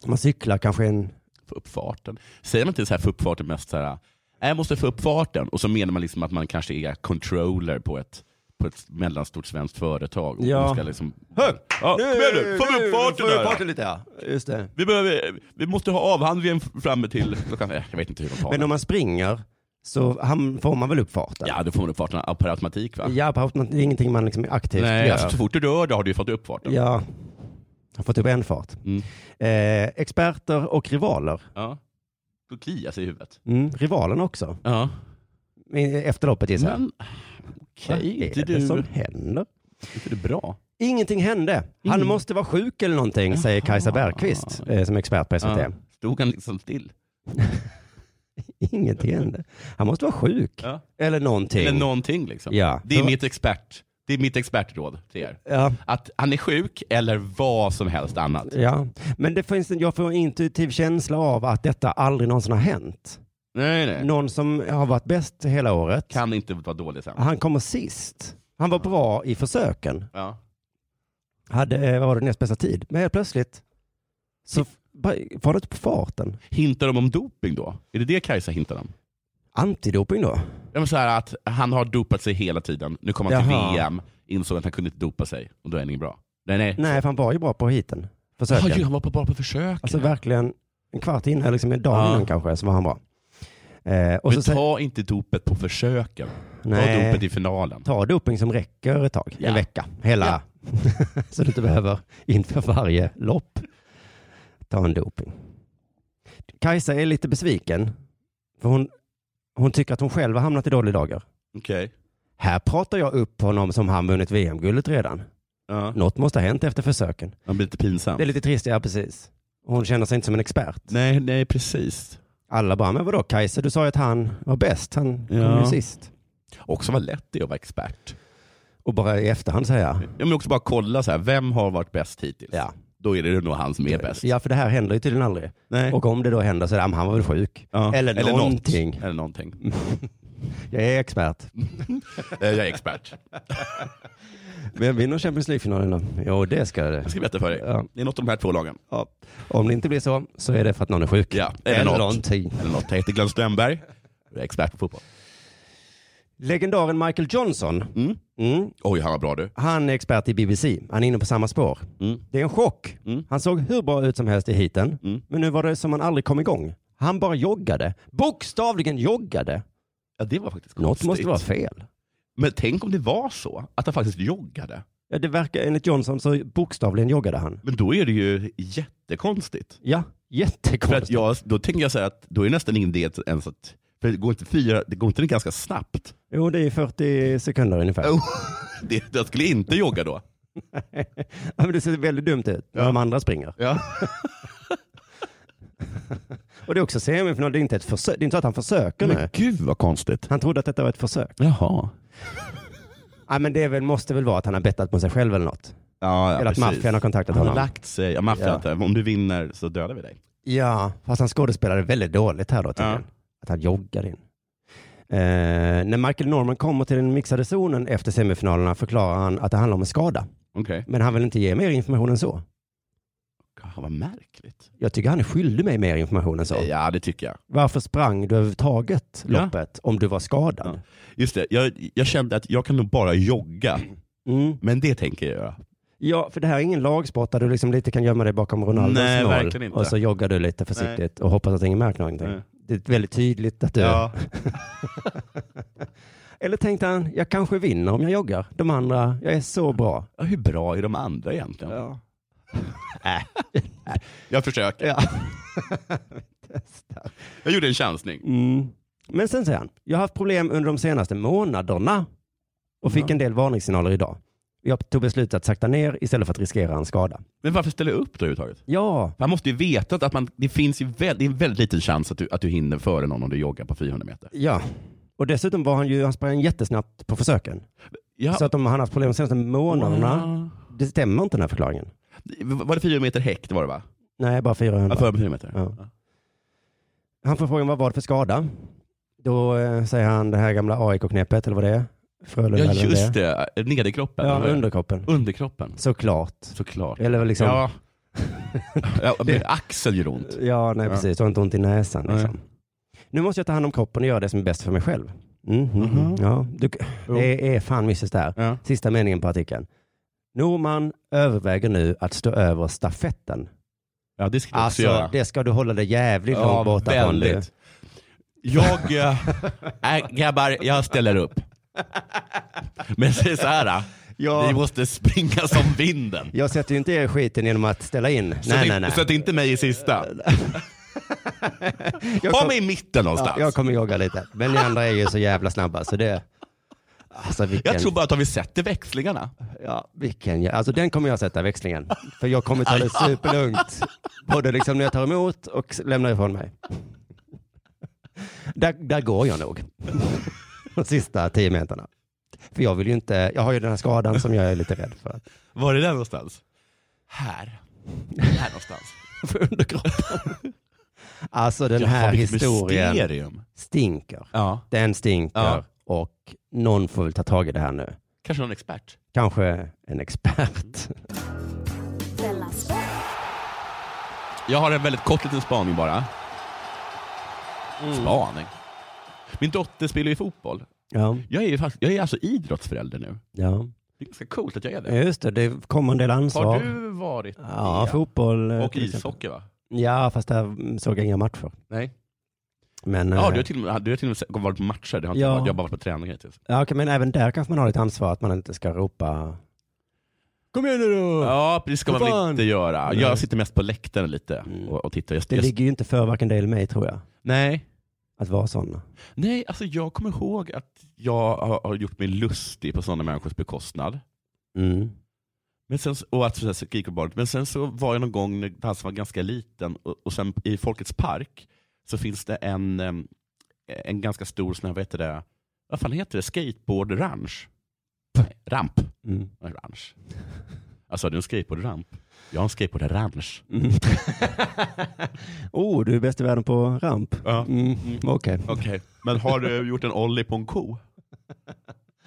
D: Man cyklar kanske en...
C: Få upp farten. Säger man inte så här få upp farten mest så här, jag måste få upp farten. Och så menar man liksom att man kanske är controller på ett, på ett mellanstort svenskt företag. Och
D: Ja.
C: man ska liksom, Hör, ja, kom igen nu, få upp farten
D: får
C: här.
D: upp farten lite ja. Just det.
C: Vi, behöver, vi måste ha avhandlingen framme till klockan... eh, Jag vet inte hur de talar.
D: Men om man springer så ham- får man väl upp farten?
C: Ja, då får man upp farten per automatik va?
D: Ja, på automat- det är ingenting man liksom aktivt
C: Nej,
D: gör.
C: alltså, så fort du rör dig har du ju fått upp farten.
D: Ja, har fått upp en fart. Eh, experter och rivaler.
C: Ja. Då kliar sig i huvudet.
D: Mm, rivalen också.
C: Ja.
D: Efter loppet gissar jag.
C: Men, Mm, okej,
D: Vad
C: inte
D: är det
C: du-
D: som händer?
C: Inte det bra?
D: Ingenting hände. Han
C: Mm.
D: måste vara sjuk eller någonting, säger Kajsa Bergqvist eh, som är expert på SVT.
C: Ja. Stod han liksom still?
D: Ingenting hände. Han måste vara sjuk.
C: Ja.
D: Eller någonting.
C: Eller någonting liksom.
D: Ja.
C: Det är mitt expert. Det är mitt expertråd till er.
D: Ja.
C: Att han är sjuk eller vad som helst annat.
D: Ja, men det finns en, jag får en intuitiv känsla av att detta aldrig någonsin har hänt.
C: Nej, nej.
D: Någon som har varit bäst hela året,
C: Kan inte vara dålig sen.
D: han kommer sist. Han var bra i försöken,
C: Ja.
D: hade, eh, vad var det, näst bästa tid. Men helt plötsligt så f- bara var det inte på farten.
C: Hintar de om doping då? Är det det Kajsa hintar om?
D: Antidoping då?
C: Ja, men så här att han har dopat sig hela tiden. Nu kom han
D: Jaha.
C: till VM, insåg att han kunde inte dopa sig och då är han ingen bra. Nej, nej.
D: Nej, för han var ju bra på hiten. Försöken.
C: Ja, ju, han var på- bara på försök.
D: Alltså verkligen en kvart innan, eller liksom en dag
C: Ja.
D: innan kanske, så var han bra. Eh, och
C: Men
D: så säger-
C: ta inte dopet på försöken.
D: Nej.
C: Ta dopet i finalen.
D: ta doping som räcker ett tag,
C: Ja.
D: en vecka, hela. så du inte behöver inför varje lopp ta en doping. Kajsa är lite besviken, för hon, hon tycker att hon själv har hamnat i dåliga dagar.
C: Okej.
D: Här pratar jag upp honom som han vunnit VM-guldet redan.
C: Ja.
D: Något måste ha hänt efter försöken.
C: Han blir lite pinsam.
D: Det är lite trist, ja precis. Hon känner sig inte som en expert.
C: Nej, nej, precis.
D: Alla bara, men vadå Kajsa, du sa ju att han var bäst, han kom ju
C: Ja.
D: sist.
C: Också vad lätt det är att vara expert.
D: Och bara i efterhand säga,
C: Jag vill också bara kolla så här, vem har varit bäst hittills?
D: Ja.
C: Då är det nog han som är bäst.
D: ja för det här händer ju tydligen aldrig.
C: Nej.
D: Och om det då händer så är det, "Ah, men han var väl sjuk.
C: Ja.
D: Eller,
C: något.
D: någonting.
C: Eller någonting.
D: Jag är expert.
C: Eh, Jag är expert.
D: Vem vinner Champions League-finalen då? Jo, det ska det.
C: Jag ska berätta för dig.
D: Ja.
C: Det är något av de här två lagen.
D: Ja. Om det inte blir så, så är det för att någon är sjuk.
C: Ja,
D: Eller,
C: eller något.
D: någonting.
C: Eller något. Jag heter Glenn Strömberg. Jag är expert på fotboll.
D: Legendaren Michael Johnson,
C: Mm.
D: mm,
C: Oj, han var bra du.
D: han är expert i BBC. Han är inne på samma spår.
C: Mm.
D: Det är en chock.
C: Mm.
D: Han såg hur bra ut som helst i heaten,
C: Mm.
D: men nu var det som han aldrig kom igång. Han bara joggade. Bokstavligen joggade.
C: Ja, det var faktiskt
D: Något
C: konstigt.
D: måste vara fel.
C: Men tänk om det var så att han faktiskt joggade.
D: Ja, det verkar, enligt Johnson så bokstavligen joggade han.
C: Men då är det ju jättekonstigt.
D: Ja,
C: För att
D: jättekonstigt.
C: jag, då tänker jag så här att då är det nästan ingen idé ens att... För det går inte fyra, det går inte ganska snabbt.
D: Jo, det är 40 sekunder ungefär.
C: Oh, det, jag skulle inte jogga då.
D: Ja, men det ser väldigt dumt ut när de andra springer.
C: Ja.
D: Och det är också semifinal, det är inte, ett försök, det är inte så att han försöker nu.
C: Men gud vad konstigt.
D: Han trodde att detta var ett försök.
C: Jaha.
D: Ja, men det är väl, måste väl vara att han har bettat på sig själv eller något.
C: Ja, ja,
D: eller att
C: precis.
D: maffian har kontaktat
C: Han har
D: honom.
C: lagt sig. Ja, maffian
D: Ja.
C: har inte. Om du vinner så dödar vi dig.
D: Ja, fast han skådespelade väldigt dåligt här då tydligen.
C: Ja.
D: Att han joggar in. Eh, när Michael Norman kommer till den mixade zonen efter semifinalerna förklarar han att det handlar om en skada.
C: Okej.
D: Men han vill inte ge mer information än så.
C: Okay. Vad märkligt.
D: Jag tycker han är skyldig mig mer information än så.
C: Ja, det tycker jag.
D: Varför sprang du överhuvudtaget
C: Ja.
D: loppet om du var skadad?
C: Just det, jag, jag kände att jag kan nog bara jogga.
D: Mm.
C: Men det tänker jag göra.
D: Ja, för det här är ingen lagsport där du liksom lite kan gömma dig bakom Ronaldos
C: Nej,
D: mål
C: verkligen inte.
D: och så joggar du lite försiktigt och hoppas att ingen märker någonting.
C: Nej.
D: Det är väldigt tydligt att du...
C: Ja.
D: Eller tänkte han, jag kanske vinner om jag joggar. De andra, jag är så bra.
C: Ja, hur bra är de andra egentligen?
D: Ja.
C: Jag försöker. jag gjorde en chansning.
D: Mm. Men sen säger han, jag har haft problem under de senaste månaderna och fick
C: Ja.
D: en del varningssignaler idag. Jag tog beslutet att sakta ner istället för att riskera en skada.
C: Men varför ställer jag upp då överhuvudtaget?
D: Ja,
C: Man måste ju veta att man, det finns ju väl, det är en väldigt liten chans att du, att du hinner före någon om du joggar på 400 meter.
D: ja. Och dessutom var han ju, han sprang jättesnabbt på försöken.
C: Ja.
D: Så att om han har haft problem de senaste månaderna, det stämmer inte den här förklaringen.
C: Var det 400 meter häck? Det var det va?
D: Nej, bara 400.
C: Ja, före 400 meter.
D: Ja. Han får frågan vad var det för skada? Då eh, säger han det här gamla AIK-knepet, eller vad det är? Frölunda
C: Ja
D: eller vad
C: just
D: det.
C: det, nederkroppen.
D: är. Ja,
C: Eller vad är det?
D: underkroppen.
C: Underkroppen,
D: Såklart.
C: såklart.
D: Eller väl liksom, ja,
C: Ja. ja, men axeln gör ont.
D: nej
C: Ja.
D: precis, du har inte ont i näsan liksom. Nu måste jag ta hand om kroppen och göra det som är bäst för mig själv. Mm, mhm,
C: Mhm.
D: ja, du,
C: Jo.
D: det är fan misses där. Sista meningen på artikeln. Norman överväger nu att stå över stafetten.
N: Ja, det ska
C: du också
D: alltså,
C: göra.
D: det ska du hålla dig jävligt
C: Ja,
D: långt borta från. du.
C: väldigt. Jag, eh, äh, grabbar, jag ställer upp. Men säg så här,
D: Ja.
C: ni måste springa som vinden.
D: Jag sätter ju inte er i skiten genom att ställa in.
C: Så
D: nej,
C: att-
D: nej, nej.
C: så att inte mig i sista.
D: Jag
C: Ha
D: kom-
C: mig i mitten någonstans.
D: Ja, jag kommer jogga lite. Men ni andra är ju så jävla snabba så det... Alltså vilken...
C: Jag tror bara att har vi sätter växlingarna.
D: Ja, vilken... jä- Alltså den kommer jag sätta växlingen. För jag kommer ta det superlugnt. Både liksom när jag tar emot och s- lämnar ifrån mig. Där, där går jag nog. De sista tio meterna. För jag vill ju inte... Jag har ju den här skadan som jag är lite rädd för.
C: Var är den någonstans? Här. Här någonstans.
D: För underkroppen. Alltså den
C: Ja,
D: här
C: vilket
D: historien
C: mysterium.
D: stinker.
C: Ja.
D: Den stinker
C: Ja.
D: och någon får väl ta tag i det här nu.
C: Kanske någon expert.
D: Kanske en expert.
C: Jag har en väldigt kort liten spaning bara. Spaning. Min dotter spelar ju fotboll.
D: Ja.
C: Jag är, ju fakt- jag är alltså idrottsförälder nu.
D: Ja.
C: Det är ganska coolt att jag är det.
D: Just det, det kommer en del ansvar.
C: Har du varit
D: Eh, Ja,
C: det?
D: fotboll. eh,
C: Och
D: till exempel.
C: ishockey va?
D: Ja, fast där mm, såg jag inga matcher.
C: Nej.
D: Men,
C: Ja,
D: eh,
C: du har till och med, du har till och med varit på matcher. Det har inte
D: Ja.
C: varit, jag har bara varit på träning hittills.
D: ja, okej, men även där kanske man har ett ansvar att man inte ska ropa. Kom igen nu då!
C: Ja, det ska
D: Vad
C: man väl
D: fan?
C: inte göra.
D: Nej. Mm.
C: Jag sitter mest på läktaren lite och, och tittar. Jag,
D: Det
C: jag,
D: ligger ju inte för varken dig eller mig tror jag.
C: Nej.
D: Att vara sådana.
C: Nej, alltså jag kommer ihåg att jag har, har gjort mig lustig på sådana människors bekostnad.
D: Mm.
C: Men sen, så- och att sådär skrika på barnet. Men sen så var jag någon gång när Dansen var ganska liten och, och sen i Folkets park så finns det en, em, e-, en ganska stor sån här, vad heter det, vad fan heter det, skateboardranch? Nej, Ramp.
D: Mm.
C: Nej, Ranch. Alltså du en skateboardramp? Jag har en skateboardranch.
D: Mm. oh, du är bäst i världen på ramp.
C: Ja.
D: Mm. Okej.
C: Okej, men har du gjort en ollie på en ko?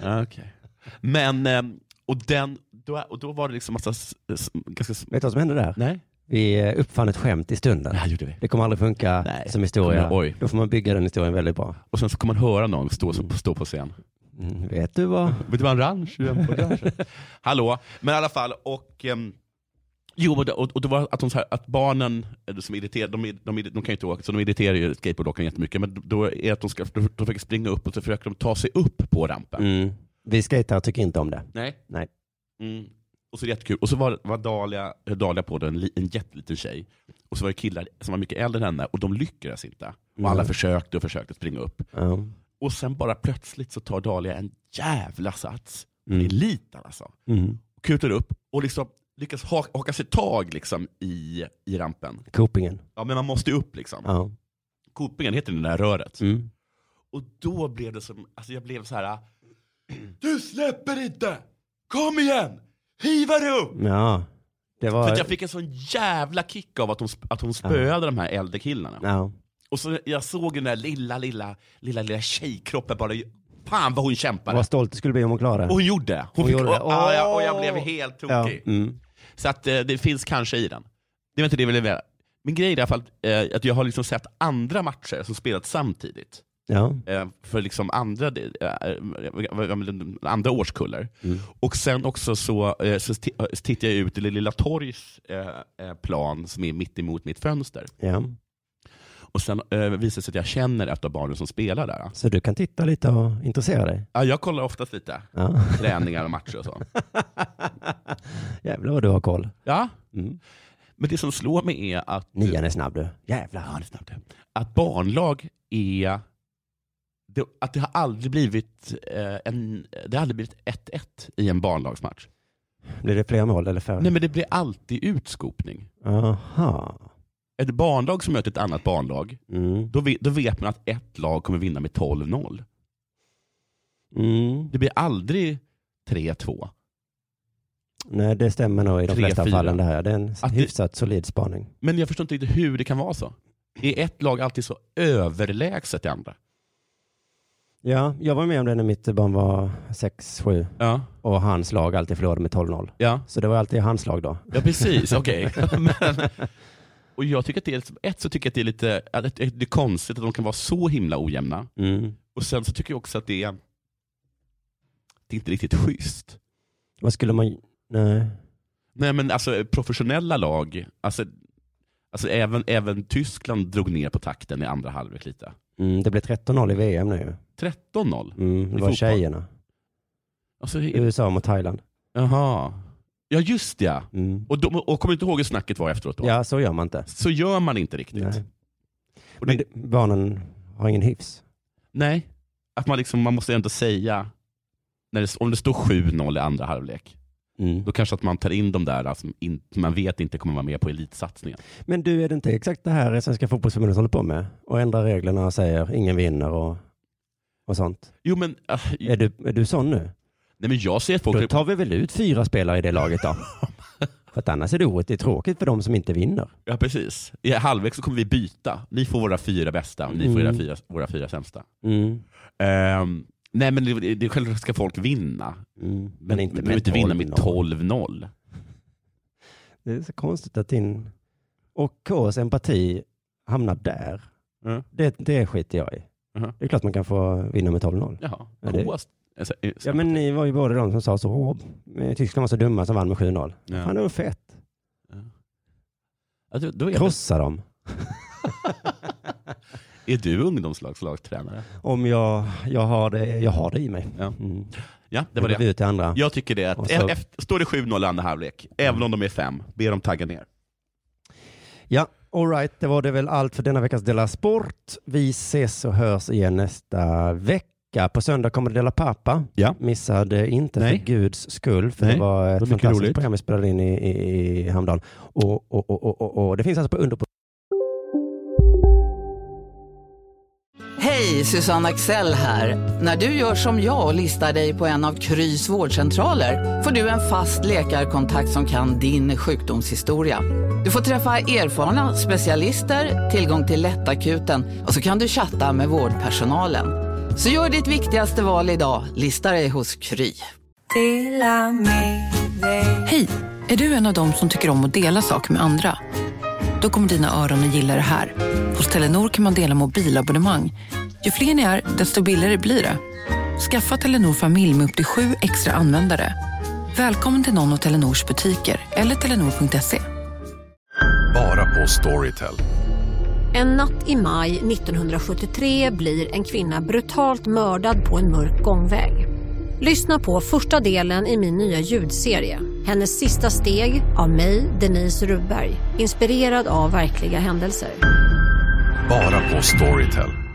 C: Ja, Okej. Men, em, och, den, då, och då var det liksom massa s- s- ganska... s-
D: Vet du vad som hände där?
C: Nej.
D: Vi eh, uppfann ett skämt i stunden.
C: Ja, gjorde vi.
D: Det kommer aldrig funka som historia.
C: Kommer- oj.
D: Då får man bygga den historien väldigt bra.
C: Och sen så kommer man höra någon stå, stå på scen.
D: Mm, vet du vad?
C: Vet du vad en ranch är? På ranchen. Hallå, men i alla fall. Och, ehm, jo, och, det- och, och det var att, de, så här, att barnen eh, som irriterar, de, de, de, de kan ju inte åka, så de irriterar ju skateboardåkaren jättemycket. Men då är det att de, ska, de, de försöker springa upp och så försöker de ta sig upp på rampen.
D: Mm. Vi skejtare tycker inte om det.
C: Nej.
D: Nej.
C: Mm. Och så är det jättekul. Och så var, var Dahlia, eh, Dahlia på den, en li- en jätteliten tjej. Och så var det killar som var mycket äldre än henne och de lyckades inte. Och alla
D: Mm.
C: försökte och försökte springa upp.
D: Ja.
C: Och sen bara plötsligt så tar Dahlia en jävla sats.
D: Mm.
C: Det är liten alltså.
D: Mm.
C: Och kutar upp och liksom lyckas ha, haka sig tag liksom i, i rampen.
D: Copingen.
C: Ja, men man måste ju upp liksom.
D: Ja.
C: Kopingen heter det där röret.
D: Mm.
C: Och då blev det som, alltså jag blev så här. Du släpper inte! Kom igen! Hiva dig upp!
D: ja. Det var...
C: För att jag fick en sån jävla kick av att hon, sp- att hon spöade de här äldre killarna.
D: Ja.
C: Och så jag såg den där lilla, lilla, lilla, lilla tjejkroppen bara, fan vad hon kämpade.
D: Vad stolt du skulle bli om hon klarade det.
C: Och hon gjorde det.
D: Hon
C: Hon fick,
D: gjorde det.
C: Och, ah, ja, och jag blev helt tokig.
D: Ja. Mm.
C: Så att eh, det finns kanske i den. Det var inte det jag ville välja. Min grej är i alla fall eh, att jag har liksom sett andra matcher som spelats samtidigt.
D: Ja.
C: Eh, för liksom andra, eh, eh, vad- vad- andra årskullar.
D: Mm.
C: Och sen också så, eh, så sti- eh, så tittar jag ut i det lilla torgs eh, eh, plan som är mitt emot mitt fönster.
D: ja.
C: Och sen eh, visar det sig att jag känner ett av barnen som spelar där.
D: Så du kan titta lite och intressera dig.
C: Ja, jag kollar oftast lite.
D: Ja.
C: Träningar och matcher och så.
D: Jävlar vad du har koll.
C: Ja.
D: Mm.
C: Men det som slår mig är att...
D: Nian är snabb du. Jävlar.
C: Ja, det är snabbt. Att barnlag är... Det, att det har aldrig blivit eh, en, det har aldrig blivit 1-1 i en barnlagsmatch.
D: Blir det fler mål eller färre?
C: Nej men det blir alltid utskopning.
D: Aha.
C: Ett barnlag som möter ett annat barnlag,
D: Mm.
C: då, ve- då vet man att ett lag kommer vinna med 12-0.
D: Mm.
C: Det blir aldrig 3-2.
D: Nej, det stämmer nog i de
C: Tre,
D: flesta
C: fyra.
D: fallen det här. Det är en
C: Att det-
D: hyfsat solid spaning.
C: Men jag förstår inte riktigt hur det kan vara så. Är ett lag alltid så överlägset det andra?
D: Ja, jag var med om det när mitt barn var 6-7
C: Ja.
D: och hans lag alltid förlorade med 12-0.
C: Ja,
D: Så det var alltid hans lag då.
C: ja precis. Okej. Men- Och jag tycker att det är, ett så tycker jag att det är lite att det är konstigt att de kan vara så himla ojämna.
D: Mm.
C: Och sen så tycker jag också att det är, det är inte riktigt schysst.
D: Vad skulle man... Nej.
C: Nej men alltså professionella lag, alltså, alltså även, även Tyskland drog ner på takten i andra halvlek lite.
D: Mm, det blev 13-0 i VM nu.
C: 13-0?
D: Mm, det var
C: fotboll.
D: tjejerna.
C: Alltså,
D: USA mot Thailand.
C: Jaha. Ja just det, ja.
D: Mm.
C: Och, de, och kommer du inte ihåg hur snacket var efteråt då?
D: Ja, så gör man inte.
C: Så gör man inte riktigt.
D: Nej.
C: Och
D: Men det, barnen har ingen hyfs.
C: Nej, att man, liksom, man måste ändå säga, när det, om det står 7-0 i andra halvlek, då kanske att man tar in de där alltså, in, som man vet inte kommer vara med på elitsatsningen.
D: Men du, är det inte exakt det här Svenska fotbollsförbundet håller på med? Och ändrar reglerna och säger ingen vinner och, och sånt.
C: Jo men, äh,
D: Är du, är du sån nu?
C: nej, men jag ser att folk...
D: Då tar vi väl ut fyra spelare i det laget då. för att annars är det orättvist tråkigt för de som inte vinner.
C: Ja precis. I halvlek så kommer vi byta. Ni får våra fyra bästa, och ni får era fyra, våra fyra sämsta.
D: Mm.
C: Ehm, nej men det, det, självklart ska folk vinna.
D: Mm.
C: Men,
D: inte
C: de
D: med
C: behöver inte vinna med
D: 12-0.
C: 12-0.
D: Det är så konstigt att din och Ks empati hamnar där.
C: Mm.
D: Det, det skiter jag i.
C: Mhm.
D: Det är klart man kan få vinna med 12-0.
C: Jaha,
D: Ja, det-
C: Kås- alltså, eh,
D: Ja men ni var ju båda de som sa så, "Åh, eh, Tyskland var så dumma som vann med 7-0.
C: Ja.
D: Fan det var fett.
C: ja, alltså, då- då är, jag-
D: Krossa dem.
C: är du ungdomslagslagstränare?
D: Om jag, jag, har det, jag har det i mig.
C: Ja.
D: Mm.
C: Ja, det
D: Det
C: var
D: går
C: det.
D: vi ut till andra.
C: Jag tycker det. Att
D: Och så-
C: efter, står det 7-0 i andra halvlek, även om de är fem, be dem tagga ner.
D: Ja, all right. Det var det väl allt för denna veckas Della Sport. Vi ses och hörs igen nästa vecka. På söndag kommer Della Pappa.
C: Ja.
D: Missa det inte
C: Nej.
D: för guds skull. För
C: Nej,
D: det var
C: det var
D: ett
C: mycket
D: fantastiskt
C: roligt.
D: program vi spelade in i, i, i häromdagen. Och, och, och, och, och, och det finns alltså på under...
O: Hej, Susanne Axel här. När du gör som jag och listar dig på en av Krys vårdcentraler får du en fast läkarkontakt som kan din sjukdomshistoria. Du får träffa erfarna specialister, tillgång till lättakuten och så kan du chatta med vårdpersonalen. Så gör ditt viktigaste val idag, listar dig hos Kry.
P: Hej! Är du en av dem som tycker om att dela saker med andra? Då kommer dina öron att gilla det här. Hos Telenor kan man dela mobilabonnemang. Ju fler ni är, desto billigare blir det. Skaffa Telenor familj med upp till sju extra användare. Välkommen till någon av Telenors butiker eller telenor.se.
Q: Bara på Storytel.
R: En natt i maj 1973 blir en kvinna brutalt mördad på en mörk gångväg. Lyssna på första delen i min nya ljudserie. Hennes sista steg av mig, Denise Rubberg. Inspirerad av verkliga händelser.
Q: Bara på Storytel.